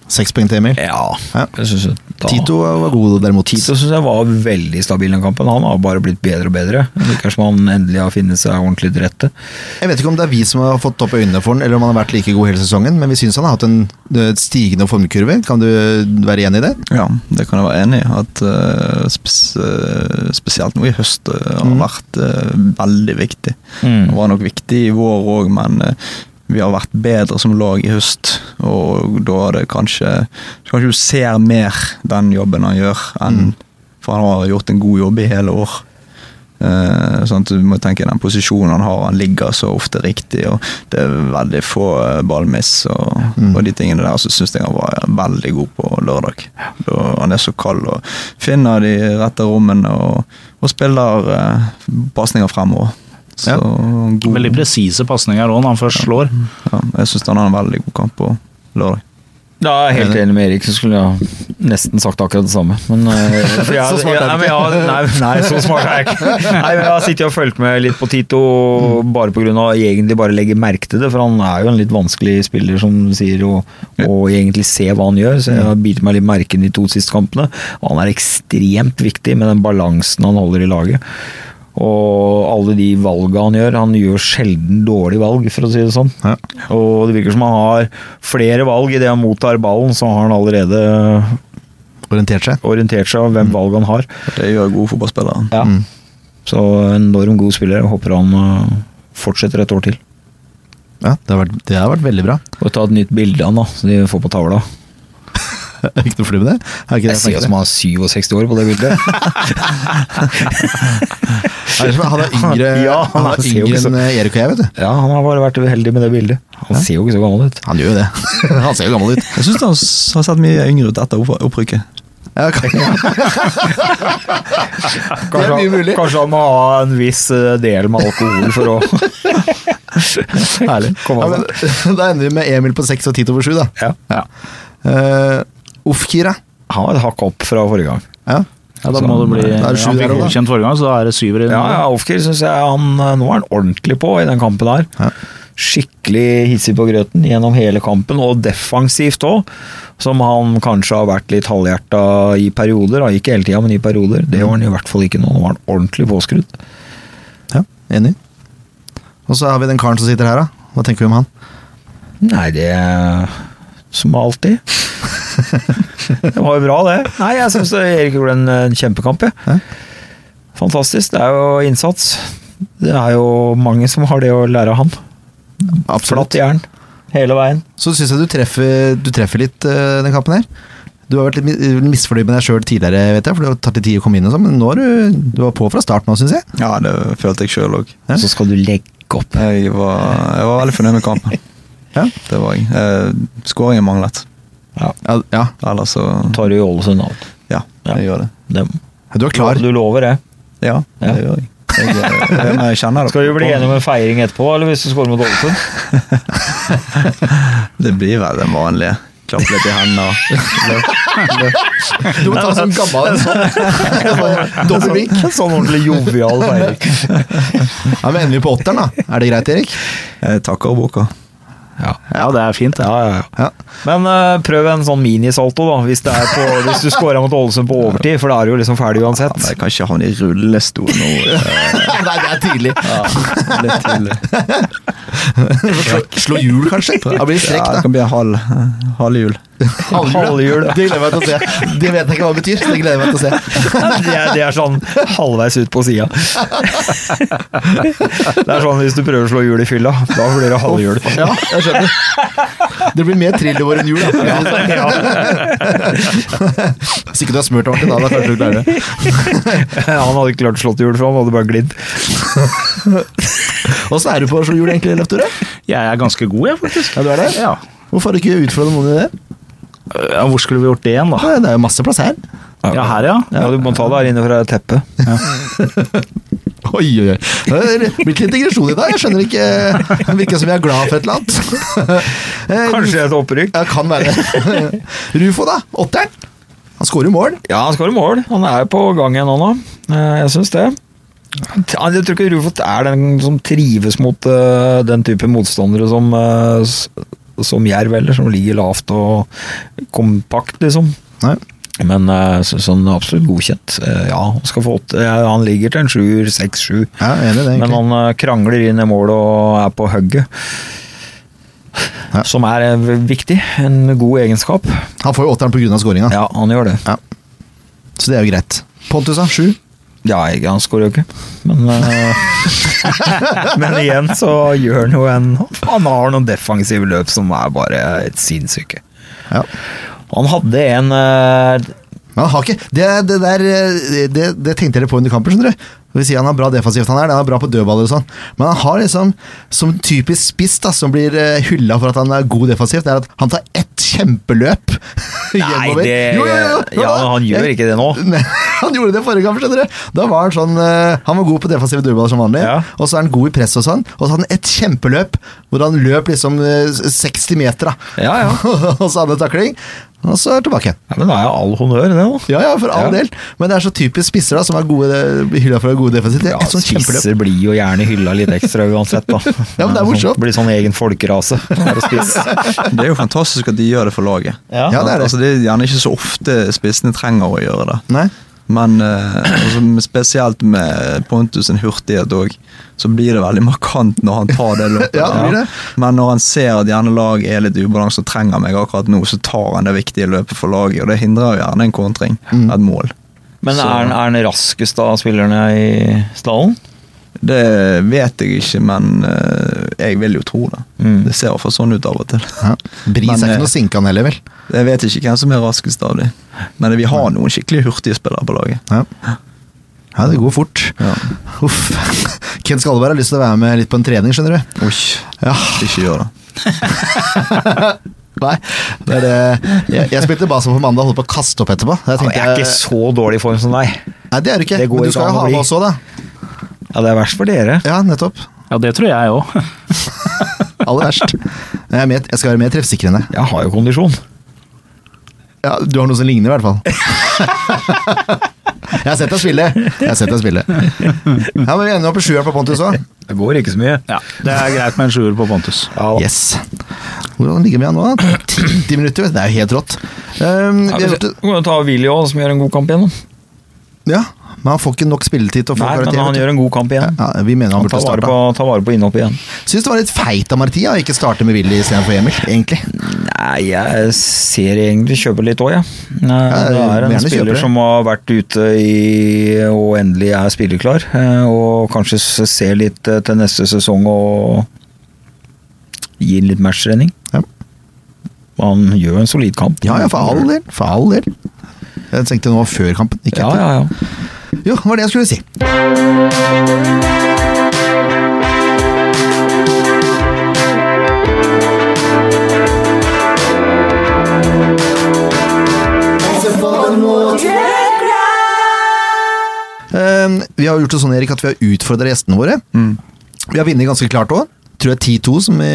[SPEAKER 1] Seks poeng til Emil.
[SPEAKER 2] Ja.
[SPEAKER 1] Ja.
[SPEAKER 2] Jeg synes, da,
[SPEAKER 1] Tito var god, derimot.
[SPEAKER 2] Tito syns jeg var veldig stabil den kampen. Han har bare blitt bedre og bedre. Det Virker som han endelig har funnet seg ordentlig til rette.
[SPEAKER 1] Jeg vet ikke om det er vi som har fått opp øynene for den, eller om han har vært like god hele sesongen, men vi syns han har hatt en eh, stigende formkurve. Kan du være enig i det?
[SPEAKER 4] Ja, det kan jeg være enig i. At eh, spes, eh, spesielt nå i høst eh, har
[SPEAKER 1] Mm.
[SPEAKER 4] vært eh, veldig viktig.
[SPEAKER 2] Mm.
[SPEAKER 4] Det var nok viktig i vår òg, men eh, vi har vært bedre som lag i høst. Og da er det kanskje Kanskje du ser mer den jobben han gjør, enn For han har gjort en god jobb i hele år. Eh, sånn at du må tenke den posisjonen han har, han ligger så ofte riktig, og det er veldig få eh, ballmiss og,
[SPEAKER 1] Mm.
[SPEAKER 4] og de tingene der. Så syns jeg han var veldig god på lørdag. Da, han er så kald og finner de rette rommene og, og spiller eh, pasninger fremover. Så
[SPEAKER 1] Ja.
[SPEAKER 4] god
[SPEAKER 3] Veldig presise pasninger òg når han først slår.
[SPEAKER 4] ja, Jeg syns han har en veldig god kamp på lørdag.
[SPEAKER 2] Da er jeg helt enig med Erik, så skulle jeg nesten sagt akkurat det samme. Men, eh, for jeg,
[SPEAKER 1] Så smart er du
[SPEAKER 2] jeg- nei, men jeg- Nei, nei, så smart er jeg ikke. Nei, men jeg har sittet og fulgt med litt på Tito
[SPEAKER 1] Mm.
[SPEAKER 2] bare pga. egentlig bare legge merke til det, for han er jo en litt vanskelig spiller, som du sier, og, og egentlig se hva han gjør. Så jeg har bitt meg litt merke i de to siste kampene. Og han er ekstremt viktig med den balansen han holder i laget. Og alle de valga han gjør, han gjør sjelden dårlig valg, for å si det sånn.
[SPEAKER 1] Ja.
[SPEAKER 2] Og det virker som han har flere valg idet han mottar ballen, så har han allerede
[SPEAKER 1] Orientert seg.
[SPEAKER 2] orientert seg om hvem valg han har.
[SPEAKER 4] Det gjør gode fotballspillere.
[SPEAKER 2] Mm. Ja. Så enormt god spiller. Jeg Håper han øh, fortsetter et år til.
[SPEAKER 1] Ja, det har vært, det har vært veldig bra.
[SPEAKER 2] Og ta et nytt bilde av han, da, så de får på tavla.
[SPEAKER 1] Ikke noe fly med det? Er ikke det
[SPEAKER 2] Jeg ser
[SPEAKER 1] jeg
[SPEAKER 2] ut
[SPEAKER 1] snakker om?
[SPEAKER 2] som han er 67 år på det bildet.
[SPEAKER 1] Er det som- Han er yngre,
[SPEAKER 2] Ja, han
[SPEAKER 1] han er
[SPEAKER 2] er- ser
[SPEAKER 1] yngre
[SPEAKER 2] jo ikke så-
[SPEAKER 1] enn eh, Erik og jeg, vet du.
[SPEAKER 2] Ja, han har bare vært uheldig med det bildet. Han ser jo ikke så gammel ut.
[SPEAKER 1] Han gjør jo det. Han ser jo gammel ut.
[SPEAKER 4] Jeg syns han s- har sett mye yngre ut etter opp- opprykket.
[SPEAKER 1] Ja, ok.
[SPEAKER 2] Kanskje,
[SPEAKER 1] mye
[SPEAKER 2] han-
[SPEAKER 1] mulig.
[SPEAKER 2] kanskje han må ha en viss øh, del med alkohol for å Herlig. Kom
[SPEAKER 1] Ja,
[SPEAKER 2] an,
[SPEAKER 1] men,
[SPEAKER 2] da.
[SPEAKER 1] da ender vi med Emil på seks og Tito på sju, da.
[SPEAKER 2] Ja.
[SPEAKER 1] Uh, Uff, Kira.
[SPEAKER 2] Han var et hakk opp fra forrige gang.
[SPEAKER 1] Ja.
[SPEAKER 3] Ja, da må det bli,
[SPEAKER 1] Da er det sju
[SPEAKER 3] han
[SPEAKER 1] der
[SPEAKER 3] fikk
[SPEAKER 1] også, da.
[SPEAKER 3] godkjent forrige gang, så da er det syver i den.
[SPEAKER 2] Ja, ja Ofker syns jeg han eh, Nå er han ordentlig på i den kampen her.
[SPEAKER 1] Ja.
[SPEAKER 2] Skikkelig hissig på grøten gjennom hele kampen, og defensivt òg. Som han kanskje har vært litt halvhjerta i perioder. Da. Ikke hele tida, men i perioder. Det var han i hvert fall ikke nå. Nå var han ordentlig påskrudd.
[SPEAKER 1] ja, enig. Og så har vi den karen som sitter her, da. Hva tenker vi om han?
[SPEAKER 2] Nei, det Som alltid. det var jo bra, det. Nei, jeg syns Erik gjorde en, en kjempekamp, jeg.
[SPEAKER 1] Ja.
[SPEAKER 2] Fantastisk. Det er jo innsats. Det er jo mange som har det å lære av han.
[SPEAKER 1] Absolutt.
[SPEAKER 2] Flatt jern hele veien.
[SPEAKER 1] Så syns jeg du treffer, du treffer litt eh, den kampen her. Du har vært litt mi- misfornøyd med deg sjøl tidligere, vet jeg, for det har tatt litt tid å komme inn, og sånn, men nå er du, du var på fra start nå, syns jeg.
[SPEAKER 4] Ja, det følte jeg sjøl òg.
[SPEAKER 1] Ja.
[SPEAKER 2] Så skal du legge opp.
[SPEAKER 4] Jeg, var- jeg var veldig fornøyd med kampen.
[SPEAKER 1] Ja.
[SPEAKER 4] Det var jeg. Eh, Skåringen manglet.
[SPEAKER 1] Ja, ja.
[SPEAKER 4] Ellers så
[SPEAKER 2] Tar du i Ålesund alt.
[SPEAKER 4] Ja,
[SPEAKER 2] Ja.
[SPEAKER 4] jeg gjør det.
[SPEAKER 2] Dem.
[SPEAKER 1] Du er klar.
[SPEAKER 2] Du lover det.
[SPEAKER 4] Ja,
[SPEAKER 2] Ja.
[SPEAKER 4] det gjør jeg. Jeg, eh, men jeg kjenner det.
[SPEAKER 2] Skal vi bli
[SPEAKER 4] på-
[SPEAKER 2] enige om en feiring etterpå, eller hvis du scorer mot Ålesund?
[SPEAKER 4] Det blir vel den vanlige. Klappe litt i hendene.
[SPEAKER 1] Du må ta sånn gammel sånn. Dobbeltvink.
[SPEAKER 2] En sånn ordentlig jovial feiring.
[SPEAKER 1] Ja, men ender vi på åtteren, da? Er det greit, Erik?
[SPEAKER 4] Jeg takker og bukker.
[SPEAKER 3] Ja, det er fint. det.
[SPEAKER 2] Ja, ja, ja.
[SPEAKER 1] Ja.
[SPEAKER 2] Men eh, prøv en sånn minisalto, da, hvis, det er på, hvis du scorer mot Ålesund på overtid, for da er du jo liksom ferdig
[SPEAKER 4] Ja, men
[SPEAKER 2] uansett.
[SPEAKER 4] jeg kan ikke havne i rullestol nå. eh,
[SPEAKER 1] Nei, det er tidlig.
[SPEAKER 4] Litt tidlig.
[SPEAKER 1] Slå, slå hjul, kanskje? Det blir strekk,
[SPEAKER 4] Ja,
[SPEAKER 1] da.
[SPEAKER 4] det kan bli en halv, eh, halv jul.
[SPEAKER 2] Halvhjul.
[SPEAKER 1] Det gleder jeg meg til å se. Det vet jeg ikke hva det betyr. så Det gleder jeg meg til å se.
[SPEAKER 2] Det er, det er sånn halvveis ut på sida. Det er sånn hvis du prøver å slå hjul i fylla, da blir det halvhjul.
[SPEAKER 1] Ja, jeg skjønner. Det blir mer trill i vår enn jul. Da.
[SPEAKER 2] Ja.
[SPEAKER 1] Hvis ikke du har smurt ordentlig, da, da kanskje du klarer det.
[SPEAKER 2] Han hadde ikke klart å slå til hjul, for han hadde bare glidd.
[SPEAKER 1] Åssen er du på å slå hjul, egentlig, Løfter?
[SPEAKER 3] Jeg er ganske god, jeg, faktisk.
[SPEAKER 1] Ja, du er det?
[SPEAKER 3] Ja.
[SPEAKER 1] Hvorfor har du ikke utfordret noen i det?
[SPEAKER 3] Ja, Hvor skulle vi gjort det igjen, da?
[SPEAKER 1] Ja, Det er jo masse plass her.
[SPEAKER 3] Ja, her, ja.
[SPEAKER 2] Ja, du må ta det her inne fra teppet.
[SPEAKER 1] Å Oi, oi, oi. Det blir ikke integrasjon i dag. Jeg skjønner ikke Det virker som jeg er glad for et eller annet. Eh,
[SPEAKER 2] Kanskje et opprykk.
[SPEAKER 1] Ja, kan være det. Rufo, da. Åtteren. Han skårer jo mål.
[SPEAKER 2] Ja, han skårer mål. Han er jo på gang igjen nå, nå. Eh, Jeg syns det. Ja, Jeg tror ikke Rufot er den som trives mot eh, den type motstandere som, eh, s- som Jerv, eller som ligger lavt og kompakt, liksom.
[SPEAKER 1] Nei.
[SPEAKER 2] Men eh, så- sånn absolutt godkjent. Eh, Ja, han skal få åtte. Ja, Han ligger til en sjuer, seks-sju.
[SPEAKER 1] Ja, jeg er enig i det,
[SPEAKER 2] Men
[SPEAKER 1] egentlig.
[SPEAKER 2] han eh, krangler inn i mål og er på hugget.
[SPEAKER 1] Ja.
[SPEAKER 2] Som er eh, viktig. En god egenskap.
[SPEAKER 1] Han får jo åtteren pga. skåringa,
[SPEAKER 2] Ja, han gjør det.
[SPEAKER 1] så det er jo greit. Pontus, da. Sju.
[SPEAKER 2] Ja, jeg- han skårer jo ikke, men eh, Men igjen så gjør han jo en Han har noen defensive løp som er bare et sinnssyke.
[SPEAKER 1] Ja.
[SPEAKER 2] Han hadde en eh,
[SPEAKER 1] Men han har ikke Det, det der eh, det, det tenkte dere på under kampen, skjønner du. Det vil si han er bra defensivt, han er, det, han er bra på dødballer og sånn. Men han har liksom, som en typisk spiss da, som blir hylla for at han er god defensivt, det er at han tar ett kjempeløp
[SPEAKER 2] Nei,
[SPEAKER 1] gjennomover.
[SPEAKER 2] det
[SPEAKER 1] Jo, jo, jo, jo,
[SPEAKER 2] Ja,
[SPEAKER 1] da.
[SPEAKER 2] han gjør ikke det nå.
[SPEAKER 1] Nei, han gjorde det forrige kamp, skjønner du. Da var han sånn eh, Han var god på defensive dødballer som vanlig,
[SPEAKER 2] Ja.
[SPEAKER 1] og så er han god i press og sånn. Og så hadde han et kjempeløp hvor han løp liksom eh, 60 meter, da.
[SPEAKER 2] Ja, ja.
[SPEAKER 1] og så hadde han takling, og så er han tilbake.
[SPEAKER 2] ja men da er jo all honnør, det nå.
[SPEAKER 1] Ja, ja, for all
[SPEAKER 2] Ja.
[SPEAKER 1] del. Men det er så typisk spisser da, som er gode, blir hylla for å være gode defensivt. Det er
[SPEAKER 2] Ja,
[SPEAKER 1] et sånt kjempeløp.
[SPEAKER 2] spisser blir jo gjerne hylla litt ekstra uansett, da.
[SPEAKER 1] Ja, men det er morsomt.
[SPEAKER 2] Sånn- Blir sånn egen folkerase. Bare spiss.
[SPEAKER 4] Det er jo fantastisk at de gjør det for laget.
[SPEAKER 2] Ja.
[SPEAKER 1] Ja, det er det.
[SPEAKER 4] Altså, det er gjerne ikke så ofte spissene trenger å gjøre det.
[SPEAKER 1] Nei,
[SPEAKER 4] Men eh, altså, med- spesielt med Pontus sin hurtighet òg, så blir det veldig markant når han tar det løpet.
[SPEAKER 1] Ja, det blir
[SPEAKER 4] der.
[SPEAKER 1] det.
[SPEAKER 4] Men når han ser at gjerne lag er litt i ubalanse og trenger meg akkurat nå, så tar han det viktige løpet for laget, og det hindrer jo gjerne en kontring.
[SPEAKER 1] Mm.
[SPEAKER 4] Et mål.
[SPEAKER 2] Men er han, er han raskest av spillerne i stallen?
[SPEAKER 4] Det vet jeg ikke, men eh, jeg vil jo tro det.
[SPEAKER 2] Mm.
[SPEAKER 4] Det ser i hvert fall sånn ut av og til.
[SPEAKER 1] ja. Bris er
[SPEAKER 4] Men,
[SPEAKER 1] ikke
[SPEAKER 4] eh,
[SPEAKER 1] noe sinke han heller, vel.
[SPEAKER 4] Jeg vet ikke hvem som er raskest av dem, men vi har noen skikkelig hurtige spillere på laget.
[SPEAKER 1] Ja. ja, det går fort.
[SPEAKER 4] Ja.
[SPEAKER 1] Uff. Ken Skalleberg har lyst til å være med litt på en trening, skjønner du.
[SPEAKER 4] Osh,
[SPEAKER 1] Ja,
[SPEAKER 4] ikke gjør det.
[SPEAKER 1] nei. Det er det. Jeg, jeg spilte base på mandag og holdt på å kaste opp etterpå. Jeg
[SPEAKER 2] Jeg
[SPEAKER 1] tenkte,
[SPEAKER 2] er ikke så dårlig i form som deg.
[SPEAKER 1] Nei, det er du ikke.
[SPEAKER 2] Det går
[SPEAKER 1] Men
[SPEAKER 2] ikke
[SPEAKER 1] du skal
[SPEAKER 2] an
[SPEAKER 1] jo
[SPEAKER 2] å
[SPEAKER 1] ha
[SPEAKER 2] bli.
[SPEAKER 1] med oss òg, da.
[SPEAKER 2] Ja, det er verst for dere.
[SPEAKER 1] Ja, nettopp.
[SPEAKER 3] Ja, det tror jeg òg.
[SPEAKER 1] Aller verst. Jeg, er mer- jeg skal være mer treffsikker enn deg.
[SPEAKER 2] Jeg har jo kondisjon.
[SPEAKER 1] Ja, du har noe som ligner, i hvert fall. jeg har sett deg spille. Jeg har sett deg spille. Ja, men Vi ender opp i sjueren på Pontus òg.
[SPEAKER 2] Det går ikke så mye.
[SPEAKER 3] Ja, det er greit med en sjuer på Pontus.
[SPEAKER 1] Yes. Hvordan ligger vi an nå? da? 90 minutter, vet du. det er jo helt rått. Um, vi har gjort det.
[SPEAKER 2] kan jo ta Willy òg, som gjør en god kamp igjen. da.
[SPEAKER 1] Ja, Men han får ikke nok spilletid til å få
[SPEAKER 2] Nei, men
[SPEAKER 1] karakter.
[SPEAKER 2] han
[SPEAKER 1] vet du.
[SPEAKER 2] gjør en god kamp igjen.
[SPEAKER 1] ja, vi mener han
[SPEAKER 2] Han
[SPEAKER 1] burde
[SPEAKER 2] tar vare
[SPEAKER 1] starte.
[SPEAKER 2] på, tar vare på innhoppet igjen.
[SPEAKER 1] Syns det var litt feit av Martia å ikke starte med Willy istedenfor Emil, egentlig.
[SPEAKER 2] Nei, jeg ser egentlig kjøper litt òg, jeg. Ja.
[SPEAKER 1] Ja,
[SPEAKER 2] Det er en
[SPEAKER 1] gjerne kjøper
[SPEAKER 2] spiller
[SPEAKER 1] det.
[SPEAKER 2] som har vært ute i og endelig er spilleklar, eh, og kanskje s- ser litt eh, til neste sesong og gir litt matchtrening.
[SPEAKER 1] Ja.
[SPEAKER 2] Han gjør en solid kamp.
[SPEAKER 1] Ja, ja, for all del. For all del. Jeg tenkte nå før kampen, ikke
[SPEAKER 2] Ja,
[SPEAKER 1] etter.
[SPEAKER 2] ja, ja.
[SPEAKER 1] Jo, det var det jeg skulle si. Ehm, Vi har gjort det sånn, Erik, at vi har utfordra gjestene våre. Vi har vunnet ganske klart òg. Tror jeg 10-2 som i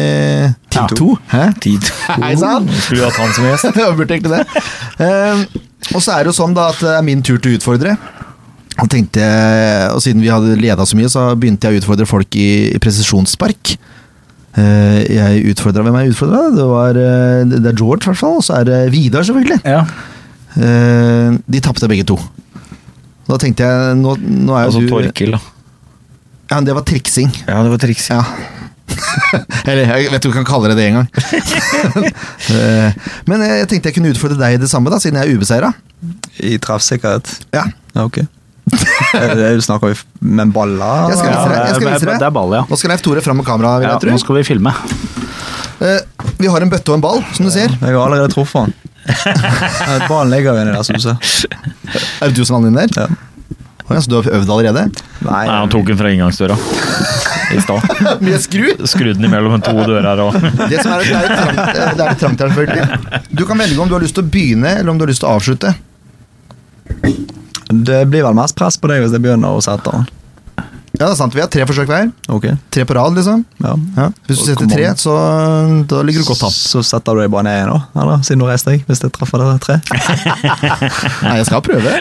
[SPEAKER 1] 10-2? Hæ?
[SPEAKER 2] Tid.
[SPEAKER 1] Hei sann!
[SPEAKER 2] Mm, Skulle hatt han som gjest.
[SPEAKER 1] Jeg burde egentlig det. Ehm, og så er det jo sånn da at det er min tur til å utfordre. Og, tenkte, og siden vi hadde leda så mye, så begynte jeg å utfordre folk i, i presisjonsspark. Eh, jeg utfordra Hvem er jeg utfordra? Det, var, eh, det er George, i hvert fall. Og så er det Vidar, selvfølgelig.
[SPEAKER 3] Ja.
[SPEAKER 1] Eh, de tapte begge to. Da tenkte jeg Nå, nå er jo
[SPEAKER 2] Altså
[SPEAKER 1] du
[SPEAKER 2] Torkil, da.
[SPEAKER 1] Ja, men det var triksing.
[SPEAKER 2] Ja, det var triks.
[SPEAKER 1] Ja. Eller jeg vet du ikke om jeg kan kalle det det engang. Eh, Men jeg tenkte jeg kunne utfordre deg i det samme, da, siden jeg er ubeseira.
[SPEAKER 4] I treffsikkerhet.
[SPEAKER 1] Ja.
[SPEAKER 4] Ja, ok. Er det- Snakker vi f- med en ball, da?
[SPEAKER 1] Jeg skal
[SPEAKER 3] Ja,
[SPEAKER 1] vise deg. Jeg
[SPEAKER 3] det,
[SPEAKER 1] skal
[SPEAKER 3] er-
[SPEAKER 1] vise deg.
[SPEAKER 3] det er ball, ja.
[SPEAKER 1] Nå skal Leif Tore fram med kameraet.
[SPEAKER 3] ja.
[SPEAKER 1] vil
[SPEAKER 3] Nå
[SPEAKER 1] jeg tro.
[SPEAKER 3] skal vi filme.
[SPEAKER 1] Eh, Vi har en bøtte og en ball, som du ser.
[SPEAKER 4] Jeg har allerede truffet han. Ja, Ballen ligger jo inni der, som du ser.
[SPEAKER 1] Er det du som er den der?
[SPEAKER 4] Ja.
[SPEAKER 1] Å ja, så du har øvd allerede?
[SPEAKER 4] Nei,
[SPEAKER 5] Nei, han tok den fra inngangsdøra i stad.
[SPEAKER 1] Mye skru!
[SPEAKER 5] Skrudde den imellom to dører og
[SPEAKER 1] Det som er, det er litt trangt, eh, det er litt trangt her, selvfølgelig. Du kan velge om du har lyst til å begynne, eller om du har lyst til å avslutte.
[SPEAKER 4] Det blir vel mest press på deg hvis jeg begynner å sette han.
[SPEAKER 1] Ja, det er sant. Vi har tre forsøk hver.
[SPEAKER 4] Ok,
[SPEAKER 1] Tre på rad, liksom.
[SPEAKER 4] ja.
[SPEAKER 1] Ja. Hvis du
[SPEAKER 4] Og
[SPEAKER 1] setter
[SPEAKER 4] kom
[SPEAKER 1] tre,
[SPEAKER 4] an.
[SPEAKER 1] så da ligger du godt an.
[SPEAKER 4] Så setter du deg bare ned igjen, da? Eller, siden du reiste deg? Hvis jeg treffer det tre?
[SPEAKER 1] Nei, jeg skal prøve.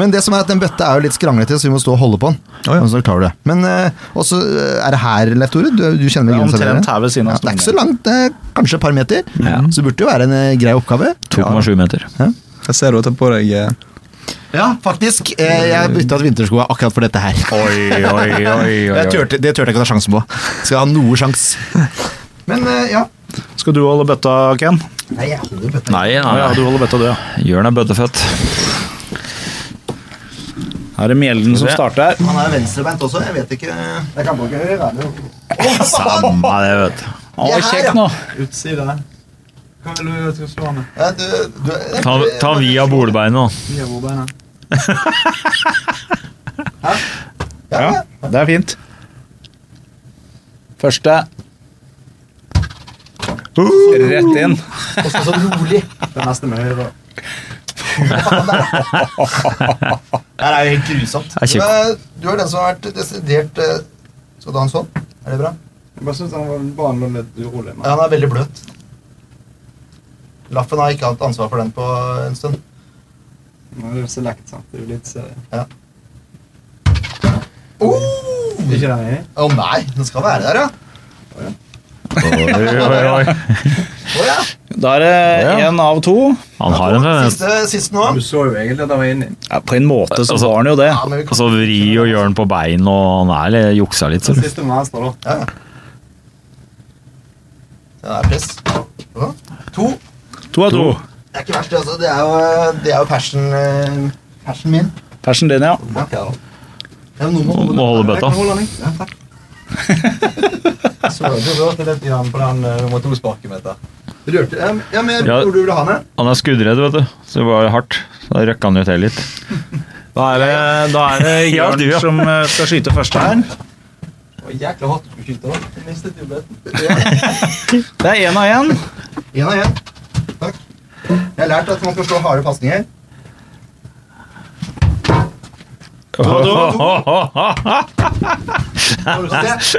[SPEAKER 1] Men det som er at den bøtta er jo litt skranglete, så vi må stå og holde på den.
[SPEAKER 4] Å, ja.
[SPEAKER 1] Men så klarer du det. Men eh, også eh, er det her, Leif Tore. Du, du kjenner vel
[SPEAKER 3] Det er
[SPEAKER 1] grønnsalerien?
[SPEAKER 3] omtrent her ved siden
[SPEAKER 1] Ja,
[SPEAKER 3] av
[SPEAKER 1] det er ikke så
[SPEAKER 3] stolen.
[SPEAKER 1] langt, det er kanskje et par meter. Så det burde jo være en eh, grei oppgave.
[SPEAKER 2] 2,7 meter.
[SPEAKER 4] Jeg ser du har tatt på deg eh,
[SPEAKER 1] Ja, faktisk. Eh, jeg bytta ut vinterskoa akkurat for dette her.
[SPEAKER 2] Oi, oi, oi,
[SPEAKER 1] Jeg tørte, det turte jeg ikke å ta sjansen på. Skal ha noe sjans. Men eh, ja.
[SPEAKER 3] Skal du holde bøtta, Ken?
[SPEAKER 1] Nei, jeg holder bøtta.
[SPEAKER 3] Nei, Ja, du holder bøtta, du, ja.
[SPEAKER 6] Jørn er bøddefødt.
[SPEAKER 3] Her er det Mjelden som starter.
[SPEAKER 1] Han er venstrebeint også, jeg vet ikke Jeg kan bruke høyre. det er jo-
[SPEAKER 3] Samme det, vet du. Å,
[SPEAKER 1] Vi er her,
[SPEAKER 3] kjekt
[SPEAKER 1] ja.
[SPEAKER 3] nå.
[SPEAKER 4] Utside der. Hva vil du skal slå med?
[SPEAKER 1] Ja, du- du-
[SPEAKER 2] Ta, ta via bolbeinet nå.
[SPEAKER 4] Via bordbeina.
[SPEAKER 3] Ja, det er fint. Første. Rett inn.
[SPEAKER 1] Og så så rolig.
[SPEAKER 4] Den neste med høyre.
[SPEAKER 1] Det her er jo helt grusomt.
[SPEAKER 6] er
[SPEAKER 1] Du
[SPEAKER 6] ikke-
[SPEAKER 1] er, du er den som har vært desidert eh, Skal du ha en sånn? Er det bra?
[SPEAKER 4] Jeg bare syns han var lå litt urolig.
[SPEAKER 1] Ja, han er veldig bløt. Laffen har ikke hatt ansvar for den på en stund.
[SPEAKER 4] Nå er det select, sant. Det er jo litt eh, serie.
[SPEAKER 1] Oh!
[SPEAKER 4] Ikke den i?
[SPEAKER 1] Å nei, den skal være der, ja.
[SPEAKER 2] Oi, oi, oi.
[SPEAKER 1] Å ja.
[SPEAKER 3] Da er det
[SPEAKER 2] Ja.
[SPEAKER 3] én av to.
[SPEAKER 2] Han har en tendens.
[SPEAKER 1] Siste, siste nå.
[SPEAKER 4] Du så jo egentlig at han var inni.
[SPEAKER 3] Ja, på en måte så var han jo det. Altså,
[SPEAKER 1] Ja, men vi kan
[SPEAKER 2] Så vri og gjør han på bein, og han er litt juksa litt. Så.
[SPEAKER 4] Den siste med venstre, da.
[SPEAKER 1] ja. Den er press. Ja. To.
[SPEAKER 3] To av to.
[SPEAKER 1] Det er ikke verst, det, altså. Det er jo, det er jo passion, eh, passion min.
[SPEAKER 3] Persen din, ja.
[SPEAKER 1] Ja. Det er jo noe med å
[SPEAKER 2] Må holde
[SPEAKER 4] Jeg
[SPEAKER 2] bøtta.
[SPEAKER 4] kan holde den, jeg. Ja, takk.
[SPEAKER 1] Så du rørte litt grann på den eh, motorsparken, vet du. Du rørte, ja, men- ja, men jeg
[SPEAKER 2] Ja.
[SPEAKER 1] tror du ville ha den.
[SPEAKER 2] Han er skuddredd, vet du. Så det var hardt. Da røkka han jo til litt.
[SPEAKER 3] Da er det, da er det
[SPEAKER 2] Ja,
[SPEAKER 3] Jørn
[SPEAKER 2] du, ja.
[SPEAKER 3] Eh, som eh, skal skyte først her.
[SPEAKER 4] Det var jækla hardt å skulle skyte, da. Jeg mistet jo bøtten.
[SPEAKER 3] Det er én av én.
[SPEAKER 1] Én og én. Takk. Jeg har lært at man skal slå harde pasninger. Se,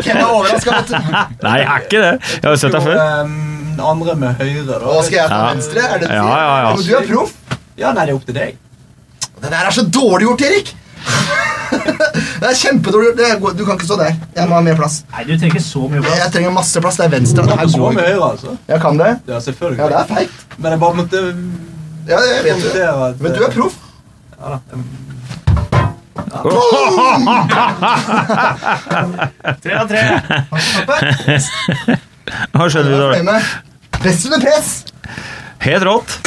[SPEAKER 1] Hvem er overraska?
[SPEAKER 2] Nei, jeg er ikke det. Jeg har jo sett deg før.
[SPEAKER 4] Den ehm, andre med høyre, da.
[SPEAKER 1] Hva skal jeg ta
[SPEAKER 2] Ja.
[SPEAKER 1] venstre? Er det det du
[SPEAKER 2] Ja,
[SPEAKER 1] sier?
[SPEAKER 2] ja, ja.
[SPEAKER 1] Men Du er proff.
[SPEAKER 4] Ja, nei, det er opp til deg.
[SPEAKER 1] Den her er så dårlig gjort, Erik. det er kjempedårlig gjort. Det er go- Du kan ikke stå der. Jeg må ha mer plass.
[SPEAKER 7] Nei, du trenger så mye
[SPEAKER 1] Jeg trenger masse plass. Det er venstre. Det her
[SPEAKER 4] Så
[SPEAKER 1] går
[SPEAKER 4] med
[SPEAKER 1] ikke.
[SPEAKER 4] høyre, altså.
[SPEAKER 1] Jeg kan det.
[SPEAKER 4] Ja, selvfølgelig.
[SPEAKER 1] Ja, det er feigt.
[SPEAKER 4] Men jeg bare måtte
[SPEAKER 1] Ja, jeg vet det.
[SPEAKER 4] kommentere at
[SPEAKER 1] Men du er proff.
[SPEAKER 4] Ja da.
[SPEAKER 7] Tre av tre.
[SPEAKER 2] Hva skjønner du da?
[SPEAKER 1] Press under press.
[SPEAKER 2] Helt rått.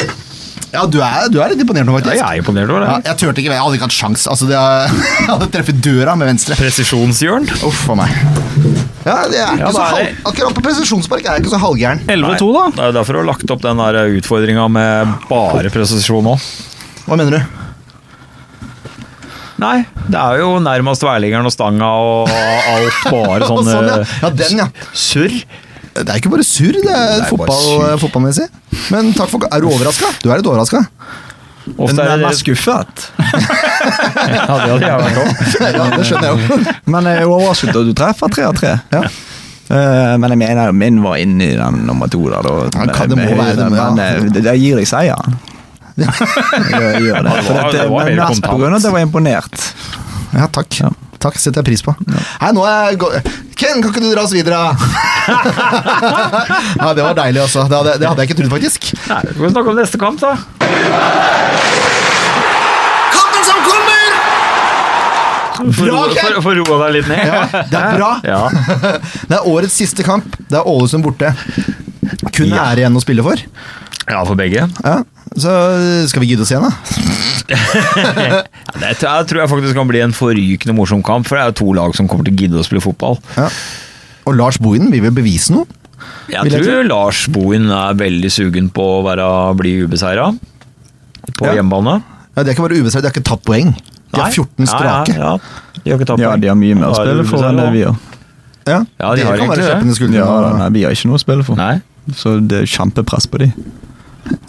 [SPEAKER 1] Ja, du er, du er litt imponert nå,
[SPEAKER 2] Ja,
[SPEAKER 1] faktisk.
[SPEAKER 2] jeg er imponert over
[SPEAKER 1] Ja,
[SPEAKER 2] det.
[SPEAKER 1] jeg turte ikke, jeg hadde ikke hatt sjans. Altså, det er, jeg hadde treffet døra med venstre.
[SPEAKER 2] Presisjonshjørn.
[SPEAKER 1] Uff for meg. Ja, det er ikke
[SPEAKER 2] Ja,
[SPEAKER 1] så
[SPEAKER 2] da er
[SPEAKER 1] halv,
[SPEAKER 2] det-
[SPEAKER 1] akkurat på presisjonspark er jeg ikke så halvgæren.
[SPEAKER 3] 11-2, da.
[SPEAKER 2] Det er jo derfor du har lagt opp den der utfordringa med bare presisjon nå.
[SPEAKER 1] Hva mener du?
[SPEAKER 2] Nei, det er jo nærmest værliggeren og stanga og alt bare
[SPEAKER 1] Å,
[SPEAKER 2] sånn
[SPEAKER 1] sånn, ja.
[SPEAKER 2] eh,
[SPEAKER 1] ja, den, ja.
[SPEAKER 2] surr.
[SPEAKER 1] Det er ikke bare surr, det er,
[SPEAKER 2] bare
[SPEAKER 1] fotball,
[SPEAKER 2] surr.
[SPEAKER 1] fotballmessig. Men takk for Er du overraska? Du er litt overraska.
[SPEAKER 2] Ofte er det
[SPEAKER 4] skuffet.
[SPEAKER 2] Ja, det hadde jeg vært også.
[SPEAKER 1] Ja, det skjønner jeg jo.
[SPEAKER 4] Men jeg er overrasket over at du treffer tre av tre.
[SPEAKER 1] Ja.
[SPEAKER 4] Eh, men jeg mener min var inni den nummer to. Da, da.
[SPEAKER 1] Ja, kan det må
[SPEAKER 4] Men-
[SPEAKER 1] være det, men ja.
[SPEAKER 4] Men eh, det, det gir deg seieren. Jeg gjør det.
[SPEAKER 2] det var-
[SPEAKER 4] For dette-
[SPEAKER 2] det var
[SPEAKER 4] men
[SPEAKER 2] mer
[SPEAKER 4] mest på
[SPEAKER 2] kontant.
[SPEAKER 4] grunn av at jeg var imponert.
[SPEAKER 1] Ja, takk.
[SPEAKER 4] Ja.
[SPEAKER 1] Takk, setter jeg pris på. Nei, nå er jeg gå Ken, kan ikke du dra oss videre? ja, det var deilig, altså. Det hadde, det hadde jeg ikke trodd, faktisk.
[SPEAKER 2] Nei, Skal vi snakke om neste kamp, da?
[SPEAKER 1] Kampen som kommer!
[SPEAKER 2] For
[SPEAKER 1] Bra,
[SPEAKER 2] å-
[SPEAKER 1] Kjell!
[SPEAKER 2] for- for å roe deg litt ned.
[SPEAKER 1] Ja, det er bra.
[SPEAKER 2] Ja.
[SPEAKER 1] Det er årets siste kamp. Det er Ålesund borte. Kun ære igjen å spille for.
[SPEAKER 2] ja, for begge.
[SPEAKER 1] Ja. Så skal vi gidde oss igjen, da.
[SPEAKER 2] Det tror jeg, tror jeg faktisk kan bli en forrykende morsom kamp, for det er jo to lag som kommer til å gidde å spille fotball.
[SPEAKER 1] Og Lars Bohinen vil vel bevise noe?
[SPEAKER 2] Jeg
[SPEAKER 1] Vil jeg
[SPEAKER 2] tror Lars Bohin er veldig sugen på å være, bli ubeseira på
[SPEAKER 1] Ja.
[SPEAKER 2] hjemmebane.
[SPEAKER 1] Ja, det er ikke bare ubeseiret, de har ikke tatt poeng. De har
[SPEAKER 2] Nei.
[SPEAKER 1] 14 strake.
[SPEAKER 2] Ja, ja, ja. De har ikke tapt
[SPEAKER 4] Ja,
[SPEAKER 2] poeng.
[SPEAKER 4] de har mye mer
[SPEAKER 2] Da er
[SPEAKER 4] å spille
[SPEAKER 2] det
[SPEAKER 4] for enn det
[SPEAKER 2] ubeseiret
[SPEAKER 4] vi
[SPEAKER 2] nå.
[SPEAKER 4] gjør.
[SPEAKER 1] Ja,
[SPEAKER 2] Ja,
[SPEAKER 1] Dere
[SPEAKER 2] de har
[SPEAKER 1] kan være
[SPEAKER 2] egentlig det.
[SPEAKER 1] sleppende skuldre.
[SPEAKER 4] Ja, da, nei, vi har ikke noe å spille for.
[SPEAKER 2] Nei.
[SPEAKER 4] Så det er kjempepress på de.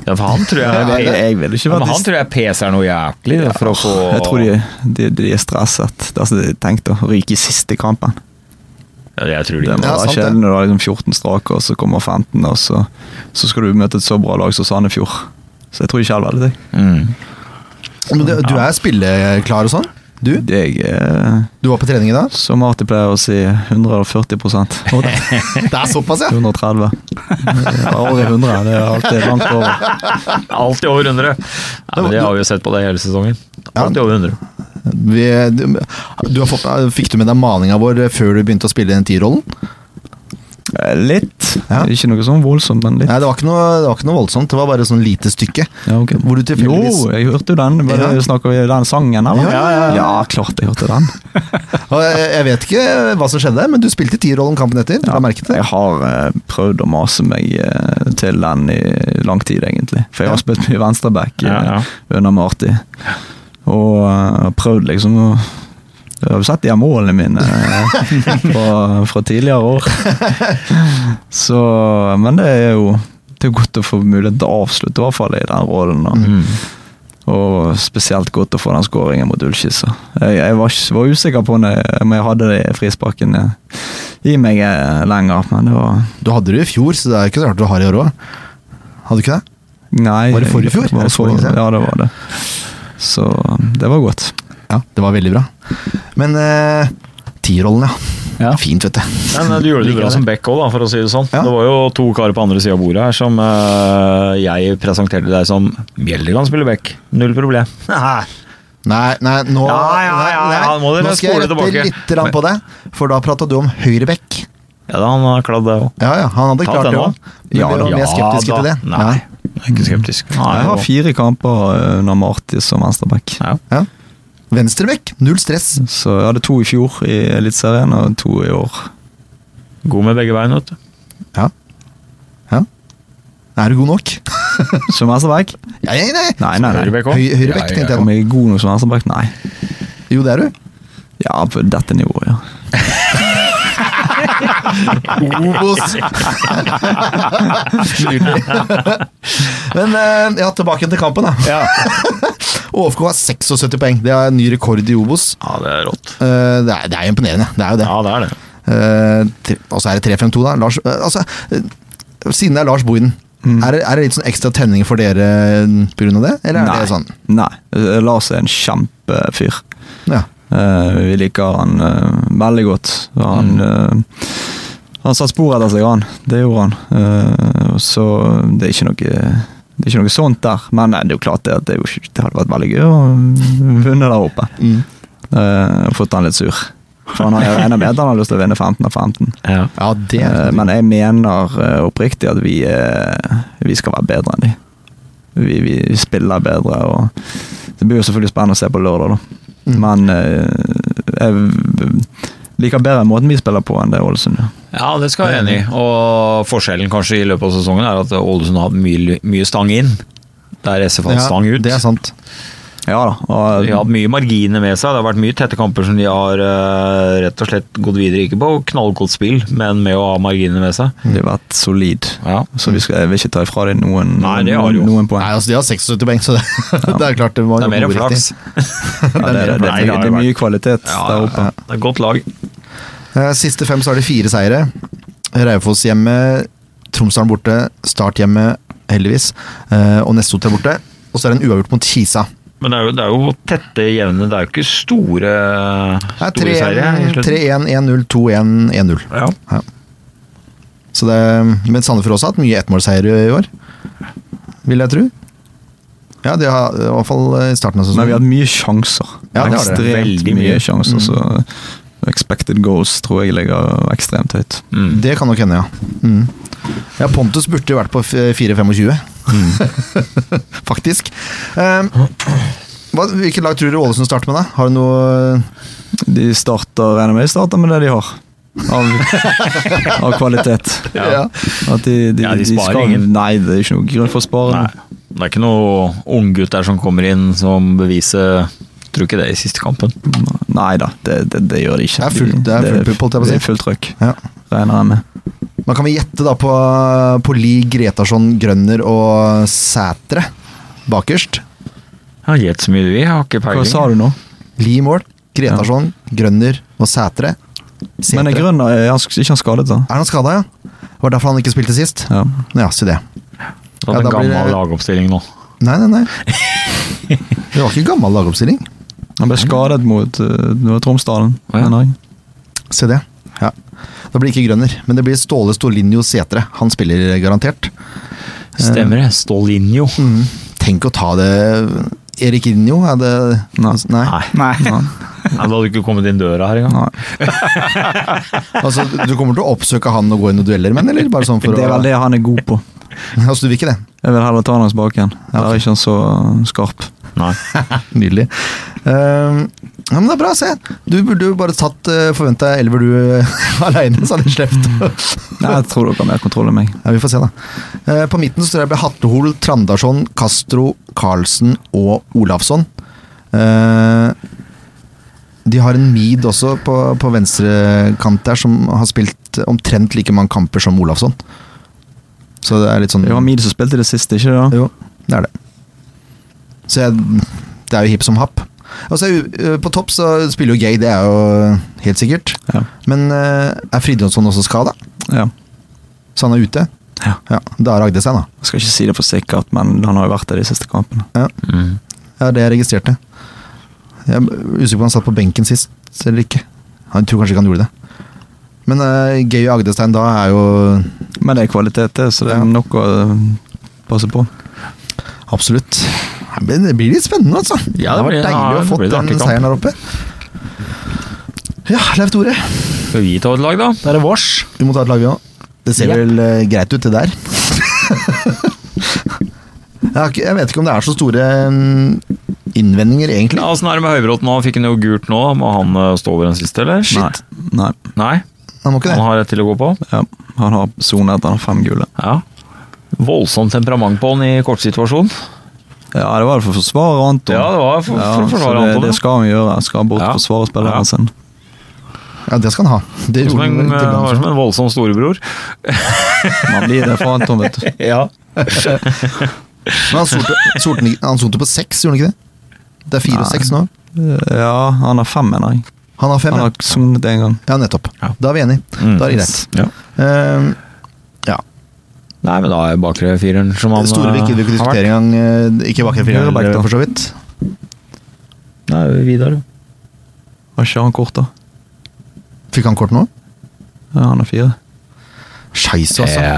[SPEAKER 2] Ja, for han tror jeg,
[SPEAKER 4] Jeg, jeg vil ikke
[SPEAKER 2] Ja, men
[SPEAKER 4] vært i
[SPEAKER 2] han tror jeg peser noe jæklig da, for å få
[SPEAKER 4] Jeg tror de, de, de er stresset. Det er altså de tenkte å ryke i siste kampen.
[SPEAKER 2] Ja, jeg tror de
[SPEAKER 4] Det må
[SPEAKER 1] Ja,
[SPEAKER 4] være
[SPEAKER 1] sant det.
[SPEAKER 4] kjedelig når du har liksom 14 strake, og så kommer 15, og så, så skal du møte et så bra lag som Sandefjord. Så jeg tror ikke jeg hadde det.
[SPEAKER 2] Mm.
[SPEAKER 1] Men du, du er spilleklar og sånn? Du?
[SPEAKER 4] Jeg er,
[SPEAKER 1] Du var på trening i dag?
[SPEAKER 4] som Marty pleier å si, 140
[SPEAKER 1] Det er såpass, ja!
[SPEAKER 4] 130. Det er Over 100, det er alltid langt over.
[SPEAKER 2] Alltid over 100. Ja, men det har vi jo sett på det hele sesongen. Alltid over 100.
[SPEAKER 1] Vi, du, du har fått, eh, fikk du med deg maninga vår eh, før du begynte å spille den tierrollen?
[SPEAKER 4] Eh, Litt.
[SPEAKER 1] Ja.
[SPEAKER 4] Ikke noe sånn voldsomt, men litt.
[SPEAKER 1] Nei, det var, ikke noe, det var ikke noe voldsomt. Det var bare sånn lite stykke.
[SPEAKER 4] Ja, ok.
[SPEAKER 1] Hvor du tilfeldigvis
[SPEAKER 4] Jo, jeg hørte jo den. Var det-
[SPEAKER 1] Ja.
[SPEAKER 4] Snakker vi den sangen, eller?
[SPEAKER 1] Ja, ja, ja.
[SPEAKER 4] klart jeg hørte den.
[SPEAKER 1] Og eh, Jeg jeg vet ikke hva som skjedde, men du spilte tierrollen kampen etter. Ja. merket det.
[SPEAKER 4] Jeg har eh, prøvd å mase meg eh, til den i lang tid, egentlig. For jeg har spilt mye venstreback eh,
[SPEAKER 2] Ja, ja.
[SPEAKER 4] under Marty. Og eh, har prøvd liksom å jeg har jo sett de her målene mine eh, fra, fra tidligere år. Så, men det er jo det er jo godt å få mulighet til å avslutte i hvert fall i den rollen. Og,
[SPEAKER 1] Mhm.
[SPEAKER 4] og spesielt godt å få den skåringen mot Ullskissa. Jeg, jeg var, ikke- var usikker på når jeg- om jeg hadde det frisparken eh, i meg eh, lenger, men det var
[SPEAKER 1] Du hadde det i fjor, så det er ikke så rart du har det i år òg. Hadde du ikke det?
[SPEAKER 4] Nei.
[SPEAKER 1] Var det forrige fjor?
[SPEAKER 4] det var
[SPEAKER 1] Er det så lenge
[SPEAKER 4] for-
[SPEAKER 1] siden?
[SPEAKER 4] ja, det var det. Så det var godt.
[SPEAKER 1] Ja, det var veldig bra. Men eh, tierrollen, ja.
[SPEAKER 8] Ja.
[SPEAKER 1] Fint, vet du.
[SPEAKER 2] Men eh, du gjorde det bra som back òg, for å si det sånn.
[SPEAKER 1] Ja.
[SPEAKER 2] Det var jo to karer på andre sida av bordet her som eh, jeg presenterte deg som Bjelder kan spille back. Null problem.
[SPEAKER 1] Nei, nei, nå,
[SPEAKER 2] Ja, ja, ja,
[SPEAKER 1] nei, nei,
[SPEAKER 2] ja, nå må dere
[SPEAKER 1] nå skal jeg
[SPEAKER 2] spole tilbake.
[SPEAKER 1] rette litt rann på deg, for da prata du om høyrebekk.
[SPEAKER 2] Ja, da, han har kladd det òg.
[SPEAKER 1] Ja, ja, han hadde
[SPEAKER 2] Ta
[SPEAKER 1] klart
[SPEAKER 2] den
[SPEAKER 1] det
[SPEAKER 2] nå.
[SPEAKER 1] òg. Men vi var mer skeptiske til det.
[SPEAKER 2] Nei, jeg er ikke skeptisk.
[SPEAKER 4] Jeg har fire kamper eh, under Marti som venstreback.
[SPEAKER 2] Ja.
[SPEAKER 1] Ja. Venstrebekk, null stress.
[SPEAKER 4] Så jeg hadde to i fjor i Eliteserien og to i år.
[SPEAKER 2] God med begge bein, vet du.
[SPEAKER 1] Ja. ja. Er du god nok?
[SPEAKER 4] Som venstreback?
[SPEAKER 1] Ja, nei, nei.
[SPEAKER 4] Nei, nei, nei.
[SPEAKER 1] Høy,
[SPEAKER 2] Høyrebekk òg.
[SPEAKER 1] høyrebekk,
[SPEAKER 2] Ja, ja,
[SPEAKER 1] tenkte
[SPEAKER 4] Om
[SPEAKER 1] jeg.
[SPEAKER 4] jeg er god nok som venstreback? Nei.
[SPEAKER 1] da. Jo, det er du.
[SPEAKER 4] Ja, på dette nivået, ja.
[SPEAKER 1] Obos! Nydelig. Men eh, ja, tilbake til kampen, da. OFK har 76 poeng. Det er en ny rekord i Obos.
[SPEAKER 2] Ja, det er rått.
[SPEAKER 1] Eh, det, er, det er imponerende. Det er jo det.
[SPEAKER 2] Ja, det er det.
[SPEAKER 1] Eh, tre- og så er det 3-5-2, da. Lars, eh, altså, eh, siden det er Lars Boiden,
[SPEAKER 2] Mm.
[SPEAKER 1] er, det, er det litt sånn ekstra tenning for dere mm, pga. det? Eller er
[SPEAKER 4] Nei.
[SPEAKER 1] det sånn?
[SPEAKER 4] Nei. Eh, Lars er en kjempefyr.
[SPEAKER 1] Ja.
[SPEAKER 4] Eh, vi liker han eh, veldig godt. Han, eh, han satte spor etter seg, han. Det gjorde han. Eh, og så det er ikke noe det er ikke noe sånt der, men eh, det er jo klart det, at det, er jo ikke, det hadde vært veldig gøy å vinne der oppe.
[SPEAKER 1] Mm.
[SPEAKER 4] Eh, og fått han litt sur. For han har jeg regner med at han har lyst til å vinne 15 av 15.
[SPEAKER 2] Ja.
[SPEAKER 1] ja, det er
[SPEAKER 4] Eh, men jeg mener eh, oppriktig at vi, eh, vi skal være bedre enn de. Vi, vi spiller bedre, og det blir jo selvfølgelig spennende å se på lørdag, da.
[SPEAKER 1] Mm.
[SPEAKER 4] Men eh, jeg liker bedre måten vi spiller på enn det Ålesund gjør.
[SPEAKER 2] Ja, det skal jeg være enig i. Og forskjellen kanskje i løpet av sesongen er at Ålesund har hatt mye, mye stang inn. Der SF har hatt Eh, stang ut.
[SPEAKER 1] Det er sant.
[SPEAKER 4] Ja da. Og,
[SPEAKER 2] De har hatt mye marginer med seg. Det har vært mye tette kamper som de har eh, rett og slett gått videre. Ikke på knallgodt spill, men med å ha marginer med seg.
[SPEAKER 4] De har vært solid
[SPEAKER 2] Ja.
[SPEAKER 4] Så vi skal, jeg vil ikke ta ifra dem noen,
[SPEAKER 2] Nei, det har
[SPEAKER 4] noen,
[SPEAKER 2] de jo.
[SPEAKER 4] noen poeng.
[SPEAKER 1] Nei, altså, de har 76 poeng, så det, det er klart det var
[SPEAKER 2] Det er mer
[SPEAKER 1] noe riktig.
[SPEAKER 2] flaks.
[SPEAKER 4] Ja, det,
[SPEAKER 2] Nei, det
[SPEAKER 4] er- det, er-
[SPEAKER 2] har jo
[SPEAKER 4] det er mye kvalitet
[SPEAKER 2] Ja,
[SPEAKER 4] der
[SPEAKER 2] ja,
[SPEAKER 4] oppe.
[SPEAKER 2] ja. det er et godt lag.
[SPEAKER 1] Eh, Siste fem så er det fire seire. Raufoss hjemme, Tromsdalen borte, Start hjemme, heldigvis. eh, Og Nessotra borte. Og så er det en uavgjort mot Kisa.
[SPEAKER 2] Men det er jo, det er jo tette, jevne Det er jo ikke store,
[SPEAKER 1] Det er
[SPEAKER 2] store seire i
[SPEAKER 1] 3-1,
[SPEAKER 2] slutten.
[SPEAKER 1] 1-0, 2-1, 1-0.
[SPEAKER 2] Ja.
[SPEAKER 1] Så det, men Sandefjord også har hatt mye ettmålseier i år, vil jeg tro. Ja, de har i hvert fall i starten av
[SPEAKER 4] Men vi har
[SPEAKER 1] sesongen.
[SPEAKER 4] hatt mye sjanser.
[SPEAKER 1] Ja, det har det.
[SPEAKER 4] ekstremt
[SPEAKER 2] Veldig
[SPEAKER 4] mye.
[SPEAKER 2] mye.
[SPEAKER 4] sjanser. Så expected goals tror jeg ligger ekstremt høyt.
[SPEAKER 2] Mm.
[SPEAKER 1] Det kan nok hende, ja. Mm. Ja, Pontus burde jo vært på f- 4-25.
[SPEAKER 2] Mm.
[SPEAKER 1] Faktisk. Um, hva, hvilke lag tror du Ålesund starter med, da? Har du noe
[SPEAKER 4] De starter, regner med de starter med det de har. Av, av kvalitet.
[SPEAKER 1] Ja.
[SPEAKER 4] At de, de,
[SPEAKER 2] Ja, de sparer
[SPEAKER 4] skal,
[SPEAKER 2] ingen.
[SPEAKER 4] Nei, det er ikke noen grunn for å spare.
[SPEAKER 2] Nei. Det er ikke noe unggutt der som kommer inn som beviser Tror ikke det i siste kampen.
[SPEAKER 4] Nei da, det, det, det gjør de ikke.
[SPEAKER 1] Det er fullt- det er fullt putt, holdt jeg på å si.
[SPEAKER 4] Det er fullt trøkk,
[SPEAKER 1] Ja.
[SPEAKER 4] regner jeg med.
[SPEAKER 1] Man kan vel gjette da på, på Lie, Gretarsson, Grønner og Sætre bakerst.
[SPEAKER 2] Ja, Gjett så mye du vil, jeg har ikke
[SPEAKER 4] Hva
[SPEAKER 2] peiling.
[SPEAKER 4] sa du nå?
[SPEAKER 1] Lie i mål, Gretarsson, Grønner og Sætre. Sætre.
[SPEAKER 4] Men er
[SPEAKER 1] er,
[SPEAKER 4] Grønner er han sk- ikke han skadet, da?
[SPEAKER 1] han skada, ja? Det var derfor han ikke spilte sist.
[SPEAKER 4] Ja.
[SPEAKER 1] Ja, si det.
[SPEAKER 2] Det
[SPEAKER 1] Ja,
[SPEAKER 2] er
[SPEAKER 1] da blir
[SPEAKER 2] en gammel
[SPEAKER 1] det-
[SPEAKER 2] lagoppstilling nå.
[SPEAKER 1] Nei, nei, nei. Det var ikke gammel lagoppstilling.
[SPEAKER 4] Han ble skadet mot uh, Tromsdalen.
[SPEAKER 2] Å, ja.
[SPEAKER 4] mener jeg.
[SPEAKER 1] Se det. Ja. Da blir det ikke Grønner, men det blir Ståle Stolinjo Sætre. Han spiller garantert.
[SPEAKER 2] Stemmer det. Stålinjo.
[SPEAKER 1] Mm. Tenk å ta det Erik Rinjo, er det
[SPEAKER 4] Nei.
[SPEAKER 1] Nei.
[SPEAKER 3] Nei.
[SPEAKER 2] Nei, Da hadde du ikke kommet inn døra her engang.
[SPEAKER 4] Nei.
[SPEAKER 1] Altså, du kommer til å oppsøke han og gå i noen dueller med han, eller bare sånn for
[SPEAKER 4] Det er
[SPEAKER 1] å
[SPEAKER 4] vel det han er god på.
[SPEAKER 1] Altså, du vil ikke det?
[SPEAKER 4] Jeg vil heller ta han hans bak igjen. Eller er ikke han så uh, skarp.
[SPEAKER 2] Nei.
[SPEAKER 1] Nydelig. Ehm, ja, men det er bra, se. Du burde jo bare tatt uh, forventa elver du aleine, så hadde jeg sluppet.
[SPEAKER 4] Nei, jeg tror dere har mer kontroll enn meg.
[SPEAKER 1] ja, vi får se, da. Eh, på midten så tror jeg det blir Hattehol, Trandarsson, Castro, Carlsen og Olafsson. Eh, de har en Mead også på, på venstre kant der, som har spilt omtrent like mange kamper som Olafsson. Så det er litt sånn
[SPEAKER 4] Det var Mid som spilte det siste, ikke det? da?
[SPEAKER 1] Jo, det er det. Så jeg, det er jo hipp som happ. Og så er jo, eh, på topp så spiller jo Gay, det er jo helt sikkert.
[SPEAKER 4] Ja.
[SPEAKER 1] Men eh, er Fridtjonsson også skada?
[SPEAKER 4] Ja.
[SPEAKER 1] Så han er ute?
[SPEAKER 4] Ja.
[SPEAKER 1] Da ragde det seg, da.
[SPEAKER 4] Jeg skal ikke si det for sikkert, men han har jo vært der de siste kampene.
[SPEAKER 2] Mm.
[SPEAKER 1] Ja, det jeg registrerte. Jeg er usikker på om han satt på benken sist eller ikke. Han tror kanskje ikke han gjorde det. Men eh, Gay og Agdestein da er jo
[SPEAKER 4] Men det er kvalitet, det, så det
[SPEAKER 1] Ja.
[SPEAKER 4] er nok å uh, passe på.
[SPEAKER 1] absolutt Det blir- Det blir litt spennende, altså.
[SPEAKER 2] Ja,
[SPEAKER 1] det
[SPEAKER 2] det
[SPEAKER 1] har
[SPEAKER 2] blir-
[SPEAKER 1] vært deilig
[SPEAKER 2] ja,
[SPEAKER 1] å
[SPEAKER 2] det
[SPEAKER 1] få
[SPEAKER 2] blir en
[SPEAKER 1] den
[SPEAKER 2] artig kamp.
[SPEAKER 1] seieren der oppe. Ja, Leif Tore.
[SPEAKER 2] Skal vi ta et lag, da?
[SPEAKER 3] Det er det vårs.
[SPEAKER 1] Vi må ta et lag, vi òg. Det ser
[SPEAKER 2] Yep.
[SPEAKER 1] vel eh, greit ut, det der. jeg, har ikke, jeg vet ikke om det er så store mm, innvendinger, egentlig.
[SPEAKER 2] Ja, Åssen er det med Høybråten nå? Han Fikk han jo gult nå? Må han eh, stå over den siste, eller?
[SPEAKER 4] Nei. Nei.
[SPEAKER 2] Nei?
[SPEAKER 1] Han må ikke
[SPEAKER 2] Han
[SPEAKER 1] det.
[SPEAKER 2] har rett til å gå på?
[SPEAKER 4] Ja. Han har sonet, han har fem gule.
[SPEAKER 2] Ja. Voldsomt temperament på han i kortsituasjon.
[SPEAKER 4] Ja, det var det for å forsvare Anton.
[SPEAKER 2] Ja, det var for, for å
[SPEAKER 4] Ja, så
[SPEAKER 2] forsvare
[SPEAKER 4] det,
[SPEAKER 2] Anton.
[SPEAKER 4] det
[SPEAKER 2] ja.
[SPEAKER 4] skal han gjøre. Han skal bort
[SPEAKER 2] Ja.
[SPEAKER 4] og forsvare
[SPEAKER 2] Ja.
[SPEAKER 4] spilleren sin.
[SPEAKER 1] Ja, det skal han ha. Det
[SPEAKER 2] Som
[SPEAKER 1] gjorde
[SPEAKER 2] en,
[SPEAKER 1] han vel til
[SPEAKER 2] eh, var
[SPEAKER 1] ganske-
[SPEAKER 2] som en voldsom storebror.
[SPEAKER 4] Man blir det for Anton, vet du.
[SPEAKER 2] Ja.
[SPEAKER 1] Men han sorte, sorte, han sorte på seks, gjorde han ikke det? Det er fire og
[SPEAKER 4] Nei.
[SPEAKER 1] seks nå.
[SPEAKER 4] Ja, han har fem, mener jeg.
[SPEAKER 1] Han har fem,
[SPEAKER 4] Han
[SPEAKER 1] ja.
[SPEAKER 4] har sonet én gang.
[SPEAKER 1] ja nettopp.
[SPEAKER 2] Ja.
[SPEAKER 1] Da er vi enige.
[SPEAKER 2] Mm.
[SPEAKER 1] Da er det greit.
[SPEAKER 2] Ja.
[SPEAKER 1] Uh,
[SPEAKER 2] Nei, men da er bakre fireren som han
[SPEAKER 1] Storevik
[SPEAKER 2] eh,
[SPEAKER 1] gidder vi ikke
[SPEAKER 2] har vært.
[SPEAKER 1] diskutere engang. eh, Ikke bak en
[SPEAKER 4] Høyre back,
[SPEAKER 1] firer,
[SPEAKER 4] da.
[SPEAKER 1] for så vidt.
[SPEAKER 2] Nei, Vidar.
[SPEAKER 4] Har ikke han kort, da?
[SPEAKER 1] Fikk han kort nå?
[SPEAKER 4] Ja, han har fire.
[SPEAKER 1] Scheisse, altså.
[SPEAKER 2] Ja.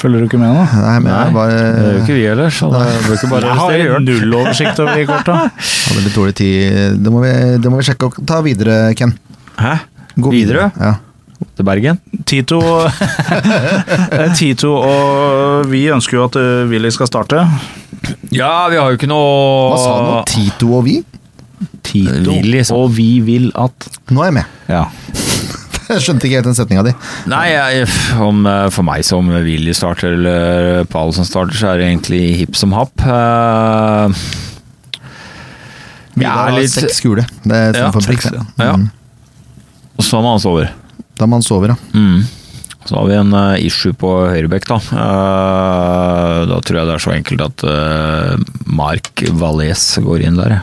[SPEAKER 3] Følger du ikke med nå?
[SPEAKER 1] Nei, men jeg
[SPEAKER 2] Eh, Nei, det gjør jo
[SPEAKER 1] bare
[SPEAKER 2] ikke vi heller, så det bør ikke bare
[SPEAKER 3] Jeg
[SPEAKER 2] arrestere
[SPEAKER 3] har
[SPEAKER 2] Jørn.
[SPEAKER 3] null oversikt over de korta.
[SPEAKER 1] hadde litt dårlig tid. Det må vi, det må vi sjekke og ta videre, Ken.
[SPEAKER 2] Hæ?
[SPEAKER 1] Gå
[SPEAKER 2] Videre?
[SPEAKER 1] Ja.
[SPEAKER 2] Til Bergen?
[SPEAKER 3] Tito, Eh, Tito og vi ønsker jo at eh, Willy skal starte.
[SPEAKER 2] Ja, vi har jo ikke noe
[SPEAKER 1] Hva sa han nå? Tito og vi?
[SPEAKER 3] Tito
[SPEAKER 2] Willy, sa-
[SPEAKER 3] og vi vil at
[SPEAKER 1] Nå er jeg med.
[SPEAKER 2] Ja.
[SPEAKER 1] Jeg skjønte ikke helt den setninga di.
[SPEAKER 2] Nei, jeg, om, eh, for meg som Willy starter eller Pal som starter, så er det egentlig hipp som happ. Eh, Jeg
[SPEAKER 1] Vidar
[SPEAKER 2] er
[SPEAKER 1] har
[SPEAKER 2] litt
[SPEAKER 1] seks gule. Det er
[SPEAKER 2] Ja,
[SPEAKER 1] ja, for prikk,
[SPEAKER 4] seks,
[SPEAKER 1] det.
[SPEAKER 2] Ja.
[SPEAKER 1] Mm.
[SPEAKER 2] Og så må han sove.
[SPEAKER 1] Da man sover, ja.
[SPEAKER 2] Mm. Så har vi en eh, issue på høyrebekk, da. Eh, da tror jeg det er så enkelt at eh, Mark Valais går inn der.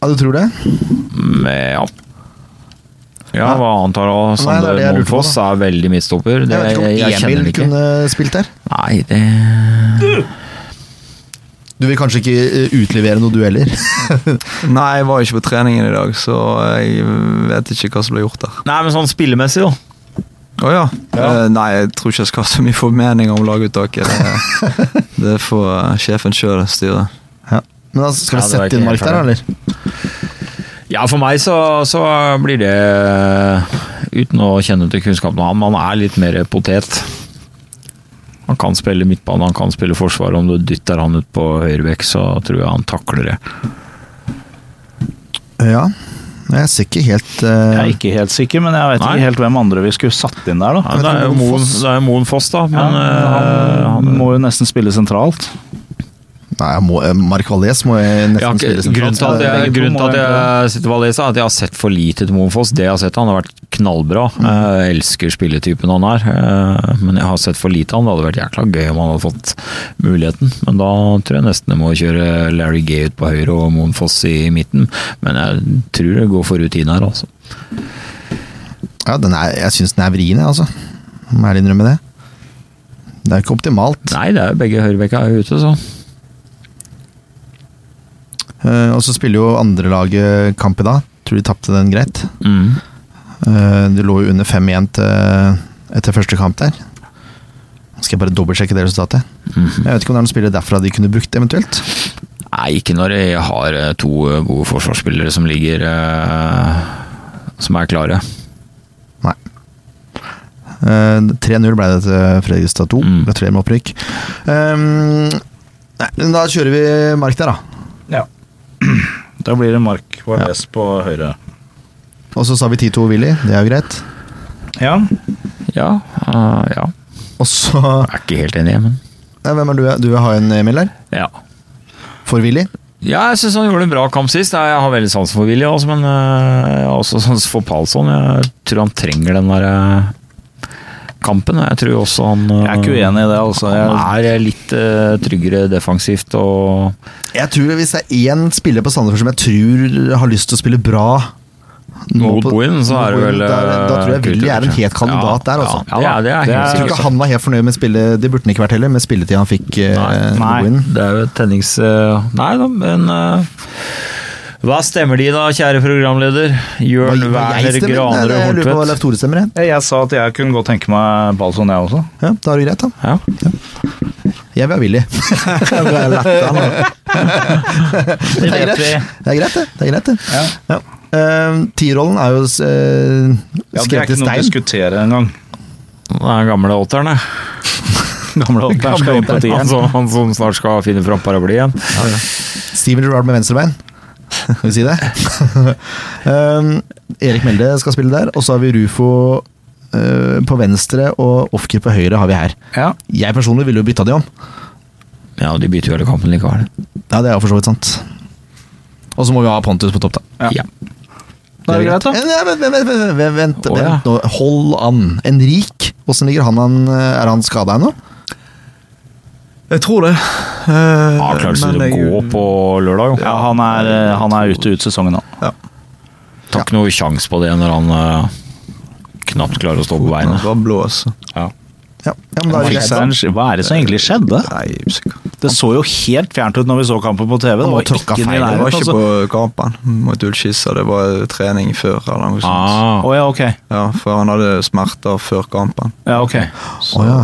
[SPEAKER 1] ja. Du tror det?
[SPEAKER 2] Mm, ja. Ja,
[SPEAKER 1] Ja.
[SPEAKER 2] hva annet har han?
[SPEAKER 1] Nei, det er
[SPEAKER 2] Sander
[SPEAKER 1] det jeg lurte på,
[SPEAKER 2] Monfoss er veldig midtstopper. Det,
[SPEAKER 1] Jeg vet
[SPEAKER 2] jeg, jeg
[SPEAKER 1] ikke om
[SPEAKER 2] kjenner
[SPEAKER 1] Emil
[SPEAKER 2] det ikke.
[SPEAKER 1] kunne spilt der.
[SPEAKER 2] Nei, det
[SPEAKER 1] Du vil kanskje ikke eh, utlevere noen dueller?
[SPEAKER 4] Nei, jeg var ikke på treningen i dag, så jeg vet ikke hva som ble gjort der.
[SPEAKER 2] Nei, men sånn spillemessig, da.
[SPEAKER 4] Å ja. Eh, nei, jeg tror ikke jeg skal ha så mye formening om laguttaket. Det, det får eh, sjefen sjøl styre.
[SPEAKER 1] Ja. Men altså, skal vi
[SPEAKER 2] Ja, det var
[SPEAKER 1] sette
[SPEAKER 2] ikke
[SPEAKER 1] inn
[SPEAKER 2] helt
[SPEAKER 1] Mark der,
[SPEAKER 2] ferdig.
[SPEAKER 1] eller?
[SPEAKER 2] Ja, for meg så, så blir det eh, Uten å kjenne til kunnskapen om ham, han er litt mer potet. Han kan spille midtbane, han kan spille forsvar. Om du dytter han ut på høyrebekk, så tror jeg han takler det.
[SPEAKER 1] Ja. Jeg ser ikke helt eh,
[SPEAKER 3] Jeg er ikke helt sikker, men jeg vet
[SPEAKER 2] Nei.
[SPEAKER 3] ikke helt hvem andre vi skulle satt inn der, da.
[SPEAKER 2] Ja, det er jo Moen, det er jo Moen Foss, da. Men
[SPEAKER 3] Ja,
[SPEAKER 2] eh,
[SPEAKER 3] han må jo nesten spille sentralt.
[SPEAKER 1] Nei, jeg må, eh, Mark Valles må jeg
[SPEAKER 2] Jeg har
[SPEAKER 1] nesten spille
[SPEAKER 2] ikke-
[SPEAKER 1] som
[SPEAKER 2] Grunnen til at jeg, grunnen til at jeg sitter og leser, er at jeg har sett for lite til Mofoss. Det jeg har sett, han har vært knallbra.
[SPEAKER 1] Mm.
[SPEAKER 2] Eh, Jeg elsker spilletypen han er, eh, men jeg har sett for lite han. Det hadde vært jækla gøy om han hadde fått muligheten, men da tror jeg nesten jeg må kjøre Larry Gay ut på høyre og Monfoss i midten. Men jeg tror det går for rutin her, altså.
[SPEAKER 1] Ja, den er, jeg syns den er vrien, jeg, altså. Må ærlig innrømme det. Det er ikke optimalt.
[SPEAKER 2] Nei, det er jo begge høyrebekka er jo ute, så.
[SPEAKER 1] Eh, og så spiller jo andrelaget kamp i dag. Tror de tapte den greit.
[SPEAKER 2] Mm.
[SPEAKER 1] Eh, de lå jo under 5-1 til- etter første kamp der. Skal jeg bare dobbeltsjekke det resultatet?
[SPEAKER 2] Mhm.
[SPEAKER 1] Jeg vet ikke om det er noen spillere derfra de kunne brukt, eventuelt.
[SPEAKER 2] Nei, ikke når jeg har eh, to eh, gode forsvarsspillere som ligger eh, som er klare.
[SPEAKER 1] Eh, 3-0 ble det til Fredrikstad 2.
[SPEAKER 2] Mm.
[SPEAKER 1] Gratulerer med opprykk. Um, nei, men da kjører vi Mark der, da.
[SPEAKER 3] Da blir det Mark Valles på høyre.
[SPEAKER 1] Og så sa vi 10-2 Willy, det er jo greit.
[SPEAKER 3] Ja,
[SPEAKER 2] Ja, eh, ja.
[SPEAKER 1] Og så
[SPEAKER 2] Jeg er ikke helt enig, men
[SPEAKER 1] Nei, Hvem er du? Du vil ha en Emil der?
[SPEAKER 2] Ja.
[SPEAKER 1] For Willy?
[SPEAKER 2] Ja, jeg syns han gjorde en bra kamp sist. Nei, Jeg har veldig sans for Willy, altså, men øh, jeg har også sans for Palsson. Jeg tror han trenger den der øh, kampen. og Jeg tror også han øh,
[SPEAKER 3] jeg er ikke uenig i det, altså. Jeg,
[SPEAKER 2] Han er litt øh, tryggere defensivt og
[SPEAKER 1] Jeg tror Hvis det er én spiller på Sandefjord som jeg tror har lyst til å spille bra nå
[SPEAKER 2] mot
[SPEAKER 1] på-
[SPEAKER 2] Bohin, så
[SPEAKER 1] mot
[SPEAKER 2] er det
[SPEAKER 1] Bohin,
[SPEAKER 2] vel
[SPEAKER 1] da er det- Da tror jeg
[SPEAKER 2] øh,
[SPEAKER 1] Willy er en
[SPEAKER 2] Kutovic,
[SPEAKER 1] het kandidat
[SPEAKER 2] ja,
[SPEAKER 1] der, altså.
[SPEAKER 2] Ja, ja, det er
[SPEAKER 3] Det
[SPEAKER 2] helt
[SPEAKER 3] er-
[SPEAKER 1] Jeg tror
[SPEAKER 2] sikkert.
[SPEAKER 1] ikke han var helt fornøyd med spillet, det burde han ikke vært heller, med spilletid han fikk. eh,
[SPEAKER 2] Nei,
[SPEAKER 1] mot
[SPEAKER 3] nei.
[SPEAKER 1] Bohin.
[SPEAKER 2] Det er jo et tennings... øh, Nei da, men øh, hva stemmer de da, kjære programleder?
[SPEAKER 1] Hva- hva
[SPEAKER 2] Jørn
[SPEAKER 1] jeg
[SPEAKER 2] Werner
[SPEAKER 1] stemmer? Nei,
[SPEAKER 2] Granerød
[SPEAKER 1] Jeg lurer på hva Leif
[SPEAKER 2] Hortvedt.
[SPEAKER 1] Tore stemmer. jeg.
[SPEAKER 3] jeg sa at jeg kunne godt tenke meg Balsson, jeg også.
[SPEAKER 1] Ja, da er det greit, da.
[SPEAKER 2] Ja.
[SPEAKER 1] Jeg vil ha Willy. er
[SPEAKER 3] Det vet vi.
[SPEAKER 1] Det er greit, det. det, er greit, det. Ja. Ehm, Tierrollen er jo uh,
[SPEAKER 3] Ja, det er
[SPEAKER 1] skrevet i
[SPEAKER 3] ikke noe å
[SPEAKER 1] stein.
[SPEAKER 3] diskutere engang.
[SPEAKER 2] Den gamle åtteren, ja.
[SPEAKER 3] Gamle Otter skal inn på
[SPEAKER 2] Han
[SPEAKER 3] tieren.
[SPEAKER 2] som, Altså, han som snart skal finne fram paraplyen.
[SPEAKER 1] Steven Gerrard med venstrebein. Skal vi si det? Ehm, Erik Melde skal spille der, og så har vi Rufo eh, på venstre og Ofker på høyre har vi her.
[SPEAKER 3] Ja.
[SPEAKER 1] Jeg personlig ville jo bytta de om.
[SPEAKER 2] Ja, og de bytter jo hele kampen likevel.
[SPEAKER 1] Ja, det er jo for så vidt sant. Og så må vi ha Pontus på topp, da.
[SPEAKER 3] Ja. Da er det greit, da.
[SPEAKER 1] Eh, nei, Vent, vent, vent, vent, vent, vent,
[SPEAKER 2] Å, ja.
[SPEAKER 1] vent nå. Hold an. Enrik, åssen ligger han an? Er han skada ennå?
[SPEAKER 4] Jeg tror det. Eh,
[SPEAKER 2] Ja, klart skal
[SPEAKER 4] men
[SPEAKER 2] du
[SPEAKER 4] jeg-
[SPEAKER 2] gå på lørdag, jo.
[SPEAKER 3] Ja, han er, eh, han er ute ut sesongen nå.
[SPEAKER 2] Tar ikke noe sjanse på det når han eh, knapt klarer å stå på beina.
[SPEAKER 4] Det var blå, altså.
[SPEAKER 1] Ja, ja, men da er det greit.
[SPEAKER 3] Hva er det som egentlig skjedde?
[SPEAKER 4] Nei, jeg er usikker.
[SPEAKER 3] Det så jo helt fjernt ut når vi så kampen på TV. Det
[SPEAKER 1] Han må
[SPEAKER 3] var
[SPEAKER 1] tråkka
[SPEAKER 3] ikke i
[SPEAKER 1] feil,
[SPEAKER 4] Det var ikke
[SPEAKER 3] nærheten. Altså.
[SPEAKER 4] på kampen mot Ullskissa, det var trening før eller noe sånt.
[SPEAKER 2] Ah,
[SPEAKER 3] Å ja, ok.
[SPEAKER 4] Ja, for han hadde smerter før kampen.
[SPEAKER 3] Ja, ok.
[SPEAKER 1] Å,
[SPEAKER 4] Så,
[SPEAKER 1] ja.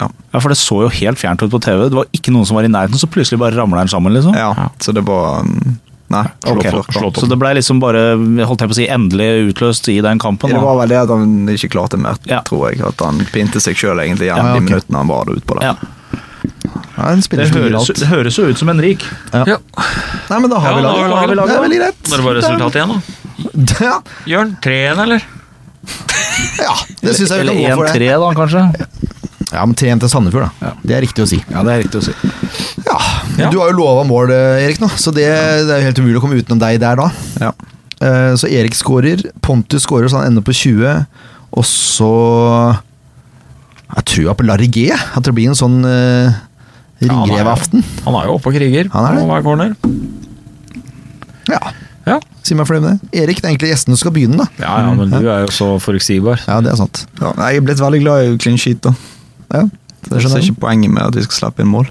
[SPEAKER 4] ja.
[SPEAKER 3] Ja, for det så jo helt fjernt ut på TV. Det var ikke noen som var i nærheten, så plutselig bare ramla den sammen, liksom.
[SPEAKER 4] ja. Så det var mm, Nei.
[SPEAKER 3] Ok,
[SPEAKER 4] før kamp.
[SPEAKER 3] Så det ble liksom bare, holdt jeg på å si, endelig utløst i den kampen.
[SPEAKER 4] Det
[SPEAKER 3] Da.
[SPEAKER 4] var vel det at han ikke klarte mer,
[SPEAKER 3] Ja.
[SPEAKER 4] tror jeg. At han pinte seg sjøl egentlig igjen
[SPEAKER 1] Ja,
[SPEAKER 4] de
[SPEAKER 1] ok.
[SPEAKER 4] minuttene han var der ute på det.
[SPEAKER 3] Ja,
[SPEAKER 1] Ja, en spiller
[SPEAKER 3] det,
[SPEAKER 1] som gjør
[SPEAKER 3] høres,
[SPEAKER 1] alt.
[SPEAKER 3] det høres jo ut som en rik.
[SPEAKER 1] Nei, men da har
[SPEAKER 2] Ja,
[SPEAKER 1] vi
[SPEAKER 2] da
[SPEAKER 1] laget.
[SPEAKER 2] har vi laget.
[SPEAKER 1] Det er veldig greit.
[SPEAKER 2] Da er det bare resultatet igjen, da.
[SPEAKER 1] Da- Ja,
[SPEAKER 2] Jørn, 3-1, eller?
[SPEAKER 1] ja det syns jeg vi
[SPEAKER 3] Eller
[SPEAKER 1] kan gå for.
[SPEAKER 3] 1-3,
[SPEAKER 1] Det.
[SPEAKER 3] da, kanskje.
[SPEAKER 1] Ja, men 3-1 til Sandefjord, da. Det er riktig å si.
[SPEAKER 3] Ja, det er riktig å si.
[SPEAKER 1] Ja, Du har jo lova mål, eh, Erik, nå, så det, det er jo helt umulig å komme utenom deg der da.
[SPEAKER 4] Ja.
[SPEAKER 1] Eh, Så Erik skårer, Pontus skårer, så han ender på 20, og så Jeg tror på Larry G. At det blir en sånn uh,
[SPEAKER 2] han er-
[SPEAKER 1] ringreveaften.
[SPEAKER 2] Han er jo oppe og kriger.
[SPEAKER 1] Han er det.
[SPEAKER 2] på hver corner.
[SPEAKER 1] Ja.
[SPEAKER 2] Ja.
[SPEAKER 1] Si meg fornøyd med det. Erik, det er egentlig gjestene som skal begynne, da.
[SPEAKER 2] Ja, ja, men du er jo så forutsigbar.
[SPEAKER 1] Ja, det er sant.
[SPEAKER 4] Ja, nei, jeg er blitt veldig glad i clean sheet. da
[SPEAKER 1] Ja, det
[SPEAKER 4] Jeg ser
[SPEAKER 1] skjønner jeg.
[SPEAKER 4] ikke poenget med at vi skal slippe inn mål.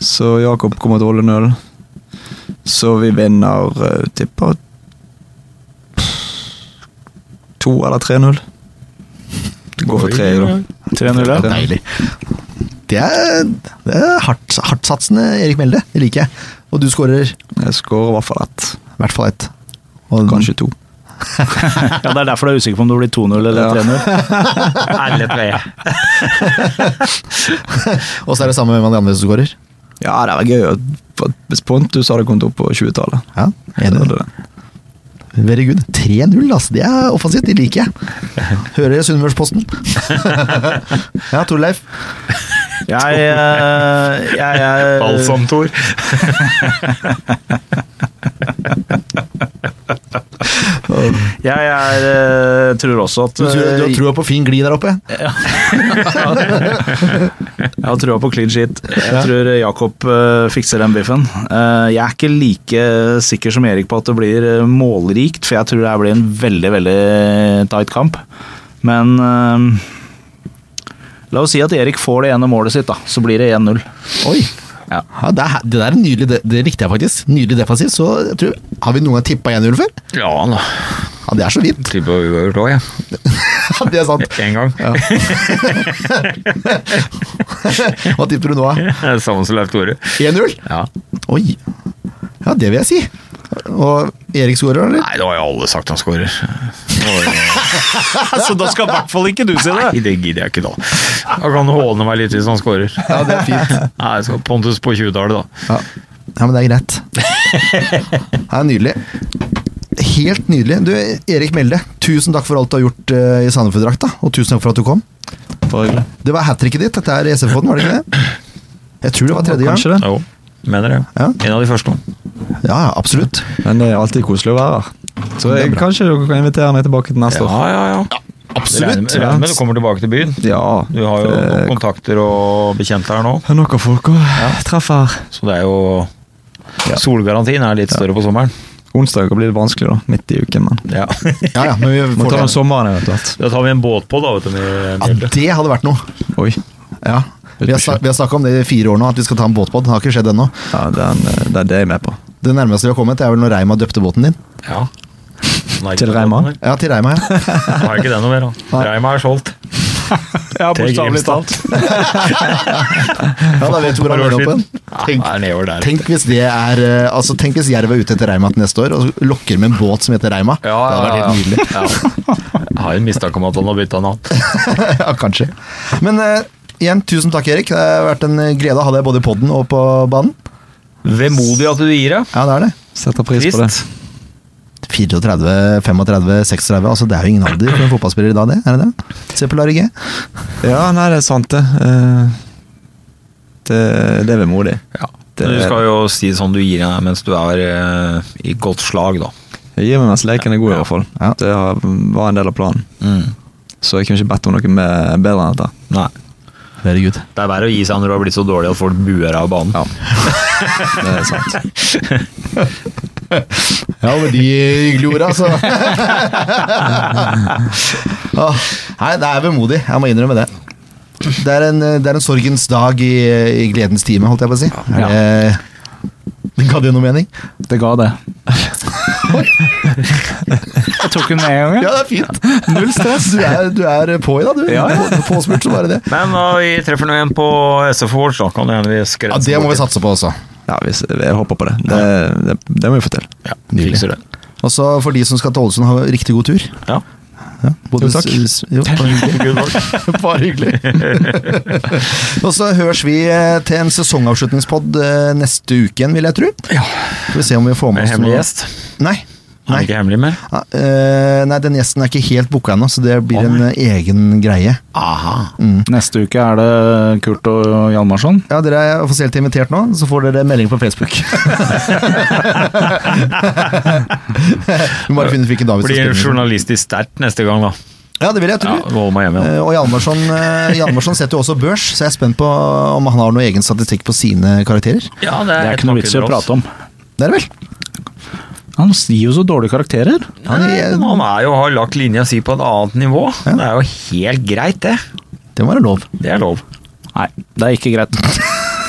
[SPEAKER 4] Så Jakob kommer til å holde nølen. Så vi vinner eh, tipper 2 eller 3-0. Det går for 3 i dag.
[SPEAKER 3] 3-0, ja.
[SPEAKER 1] Deilig. Det er, det er hardt, hardtsatsende Erik Melde. Det liker jeg. Og du skårer i
[SPEAKER 4] Jeg skårer i hvert fall ett.
[SPEAKER 1] hvert fall ett. Og-
[SPEAKER 4] Kanskje to.
[SPEAKER 3] ja. Det er derfor du er usikker på om det blir 2-0 eller
[SPEAKER 4] Ja.
[SPEAKER 3] 3-0.
[SPEAKER 1] Og så er det samme med hvem av de andre som skårer.
[SPEAKER 4] Ja, det var gøy. å- for Hvis Pontus hadde kommet opp på 20-tallet
[SPEAKER 1] Ja,
[SPEAKER 4] det
[SPEAKER 1] enig.
[SPEAKER 4] hadde det.
[SPEAKER 1] Very good. 3-0, altså. Det er offensivt. Det liker jeg. Hører Sunnmørsposten. ja, Torleif.
[SPEAKER 3] Jeg, eh, jeg, jeg
[SPEAKER 9] Balsam-Tor.
[SPEAKER 3] Jeg er, eh, tror også at
[SPEAKER 1] Du, tror- du har
[SPEAKER 3] eh,
[SPEAKER 1] trua på fin glid der oppe?
[SPEAKER 3] Jeg har trua på clean sheet. Jeg tror Jakob eh, fikser den biffen. Eh, jeg er ikke like sikker som Erik på at det blir eh, målrikt, for jeg tror det her blir en veldig, veldig tight kamp. Men eh, la oss si at Erik får det ene målet sitt, da. Så blir det 1-0.
[SPEAKER 1] Oi!
[SPEAKER 3] Ja.
[SPEAKER 1] Ja, det, er, det der er nydelig, det, det likte jeg faktisk. Nydelig defensivt. Så jeg tror, har vi noen gang tippa 1-0 før?
[SPEAKER 2] Ja da.
[SPEAKER 1] Ja, det er så vidt.
[SPEAKER 2] Tippa uavgjort òg, jeg.
[SPEAKER 1] Ja, det er sant.
[SPEAKER 2] Én gang.
[SPEAKER 1] Hva tipper du nå, da?
[SPEAKER 2] Samme som Leif Tore.
[SPEAKER 1] 1-0?
[SPEAKER 2] Ja.
[SPEAKER 1] Oi! Ja, det vil jeg si. Og Erik skårer, eller?
[SPEAKER 2] Nei, det har jo alle sagt han skårer.
[SPEAKER 3] Så da skal i hvert fall ikke du si det!
[SPEAKER 2] Nei, det gidder jeg ikke da. Da kan han håne meg litt hvis han skårer.
[SPEAKER 1] Ja, det er fint.
[SPEAKER 2] Nei, jeg skal Pontus på 20-tallet, da.
[SPEAKER 1] Ja. ja, men det er greit. Det er nydelig. Helt nydelig. Du, Erik Melde, tusen takk for alt du har gjort eh, i Sandefjord-drakta, og tusen takk for at du kom.
[SPEAKER 4] Bare hyggelig.
[SPEAKER 1] Det var hat tricket ditt, dette er SF-podden, var det ikke det? Jeg tror det var tredje gang.
[SPEAKER 4] Kanskje det.
[SPEAKER 2] Jo, mener det.
[SPEAKER 1] Ja.
[SPEAKER 2] En av de første.
[SPEAKER 1] Ja, ja, absolutt.
[SPEAKER 4] Men det er alltid koselig å være her. Så jeg, kanskje dere kan invitere meg tilbake til neste år.
[SPEAKER 2] ja, ja. Regner med- regner med du kommer tilbake til byen.
[SPEAKER 4] Ja.
[SPEAKER 2] Du har jo
[SPEAKER 4] det-
[SPEAKER 2] kontakter og bekjente her nå,
[SPEAKER 4] Det er nok av folk å treffe her.
[SPEAKER 2] så det er jo
[SPEAKER 4] Ja.
[SPEAKER 2] Solgarantien er litt større på sommeren.
[SPEAKER 4] Onsdager blir litt vanskelig, da. Midt i uken, men.
[SPEAKER 2] Ja.
[SPEAKER 1] Ja, ja, men vi
[SPEAKER 4] Må
[SPEAKER 1] får
[SPEAKER 4] ta den
[SPEAKER 1] det.
[SPEAKER 4] sommeren eventuelt.
[SPEAKER 2] Da tar vi en båt på, da, vet du. med-
[SPEAKER 1] Ja,
[SPEAKER 2] med Mjelde.
[SPEAKER 1] det hadde vært noe.
[SPEAKER 4] Oi.
[SPEAKER 1] Ja. Vi har, snak- vi har snakka om det i fire år nå, at vi skal ta en båtbåt. Det har ikke skjedd ennå.
[SPEAKER 4] Ja, den, eh, det er det jeg er med på.
[SPEAKER 1] Det nærmeste vi har kommet, er vel når Reima døpte båten din.
[SPEAKER 2] Ja. Nei,
[SPEAKER 4] Til Reima?
[SPEAKER 2] nei,
[SPEAKER 1] Ja, til Reima, ja.
[SPEAKER 2] Har ikke det noe mer, da. Reima er solgt.
[SPEAKER 4] Ja,
[SPEAKER 2] Til Grimstad.
[SPEAKER 1] ja da vet du hvor han
[SPEAKER 2] For
[SPEAKER 1] ender
[SPEAKER 2] år
[SPEAKER 1] opp igjen.
[SPEAKER 2] Nei, det er nedover der.
[SPEAKER 1] Tenk hvis det er eh, Altså, tenk hvis Jerv er ute etter Reima til neste år og lokker med en båt som heter Reima.
[SPEAKER 2] Ja,
[SPEAKER 1] det hadde vært helt nydelig.
[SPEAKER 2] ja, ja. Jeg har en mistanke om at han har bytta navn.
[SPEAKER 1] ja, kanskje. Men eh, igjen, tusen takk, Erik. Det har vært en eh, glede å ha deg både i poden og på banen.
[SPEAKER 2] Vemodig at du gir deg.
[SPEAKER 1] Ja, det er det.
[SPEAKER 4] Setter pris på det.
[SPEAKER 2] Trist.
[SPEAKER 1] 34, 35, 36 altså Det er jo ingen alder for en fotballspiller i dag, det. Er det det? Se på Larry G.
[SPEAKER 4] Ja, nei, det er sant, det. Eh, Det, det er vemodig.
[SPEAKER 2] Ja.
[SPEAKER 4] Det-
[SPEAKER 2] Men du skal jo si sånn du gir deg mens du er eh, i godt slag, da.
[SPEAKER 4] Jeg gir meg mens leken er god, i hvert fall.
[SPEAKER 1] Ja.
[SPEAKER 4] Det har- var en del av planen. Så jeg kunne ikke bedt om noe mer, bedre enn dette.
[SPEAKER 2] Mm. Nei.
[SPEAKER 1] Herregud.
[SPEAKER 2] Det er verre å gi seg når du har blitt så dårlig at folk buer deg av banen.
[SPEAKER 4] Ja. Det er sant.
[SPEAKER 1] Ja, med de hyggelige orda, altså. så Åh, Ah, Nei, det er vemodig. Jeg må innrømme det. Det er en, eh, det er en sorgens dag i, i gledens time, holdt jeg på å si.
[SPEAKER 2] Ja.
[SPEAKER 1] Er det Ga det noe mening?
[SPEAKER 3] Det ga det. Jeg tok den med en gang, jeg.
[SPEAKER 1] Ja, det er fint. Null stress. Du er, du er på i dag, du. På- Påspurt, så bare det.
[SPEAKER 2] Men uh, vi treffer nå igjen på SF Awards, da kan det hende vi
[SPEAKER 1] Ja,
[SPEAKER 2] skrenser
[SPEAKER 1] Det må vi satse på også.
[SPEAKER 4] Ja, hvis, jeg håper på det. Det, det. det må vi få til.
[SPEAKER 2] Ja, fikser det.
[SPEAKER 1] Og så for de som skal til Ålesund, ha riktig god tur.
[SPEAKER 2] Ja.
[SPEAKER 1] Ja, både
[SPEAKER 4] Jo, takk.
[SPEAKER 1] s- s- Jo, bare hyggelig. bare hyggelig. og så høres vi eh, til en sesongavslutningspod eh, neste uke igjen, vil jeg tro.
[SPEAKER 2] Ja.
[SPEAKER 1] Skal vi se om vi får med
[SPEAKER 2] Med
[SPEAKER 1] oss
[SPEAKER 2] hemmelig
[SPEAKER 1] noe-
[SPEAKER 2] gjest.
[SPEAKER 1] Nei.
[SPEAKER 2] Han
[SPEAKER 1] Nei.
[SPEAKER 2] er ikke hemmelig mer.
[SPEAKER 1] Ja, eh, nei, den gjesten er ikke helt booka ennå, så det blir en eh, egen greie.
[SPEAKER 2] Aha.
[SPEAKER 3] Neste uke er det Kurt og Hjalmarsson.
[SPEAKER 1] Ja, Dere er offisielt invitert nå, så får dere melding på Facebook. Vi må bare finne ut hvilken dag vi
[SPEAKER 2] Blir
[SPEAKER 1] skal spille.
[SPEAKER 2] journalistisk sterkt neste gang, da.
[SPEAKER 1] Ja, det vil jeg
[SPEAKER 2] Ja,
[SPEAKER 1] tro.
[SPEAKER 2] Holde meg hjemme, ja.
[SPEAKER 1] Eh, Og Hjalmarsson, eh, Hjalmarsson setter jo også børs, så jeg er spent på om han har noe egen statistikk på sine karakterer.
[SPEAKER 2] ja
[SPEAKER 3] Det er
[SPEAKER 2] et
[SPEAKER 3] ikke noe vits i
[SPEAKER 2] marked for
[SPEAKER 3] å
[SPEAKER 2] oss.
[SPEAKER 3] prate om.
[SPEAKER 1] Det er det vel?
[SPEAKER 3] Han gir jo så dårlige karakterer.
[SPEAKER 1] Ja, det,
[SPEAKER 2] Nei, men han er jo, har lagt linja si på et annet nivå. Det er jo helt greit, det.
[SPEAKER 1] det må være lov.
[SPEAKER 2] Det er lov.
[SPEAKER 3] Nei, det er ikke greit.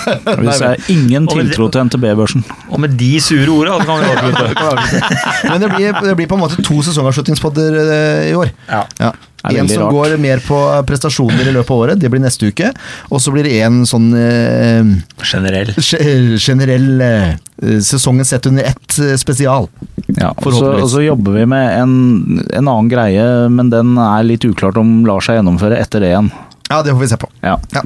[SPEAKER 3] Hvis det er ingen tiltro til NTB-børsen.
[SPEAKER 2] Og med de sure orda så kan vi avslutte.
[SPEAKER 1] Men det blir, det blir på en måte to sesongavslutningspodder eh, i år.
[SPEAKER 2] Ja.
[SPEAKER 1] Ja.
[SPEAKER 3] Det er
[SPEAKER 1] En
[SPEAKER 3] veldig
[SPEAKER 1] som
[SPEAKER 3] rart.
[SPEAKER 1] går mer på prestasjoner i løpet av året, det blir neste uke. Og så blir det en sånn eh,
[SPEAKER 2] Generell.
[SPEAKER 1] ge- generell eh, sesongen sett under ett eh, spesial.
[SPEAKER 3] Ja, og så,
[SPEAKER 1] Forhåpentligvis.
[SPEAKER 3] og så jobber vi med en, en annen greie, men den er litt uklart om lar seg gjennomføre etter det igjen.
[SPEAKER 1] Ja, det får vi se på.
[SPEAKER 3] Ja.
[SPEAKER 1] Ja.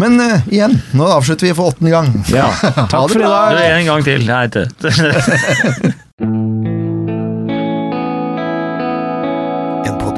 [SPEAKER 1] Men eh, igjen, nå avslutter vi for åttende gang.
[SPEAKER 3] ja.
[SPEAKER 1] Ha det
[SPEAKER 3] Takk for i
[SPEAKER 1] bra.
[SPEAKER 3] dag!
[SPEAKER 2] Du, En gang til. Nei, ikke.
[SPEAKER 10] En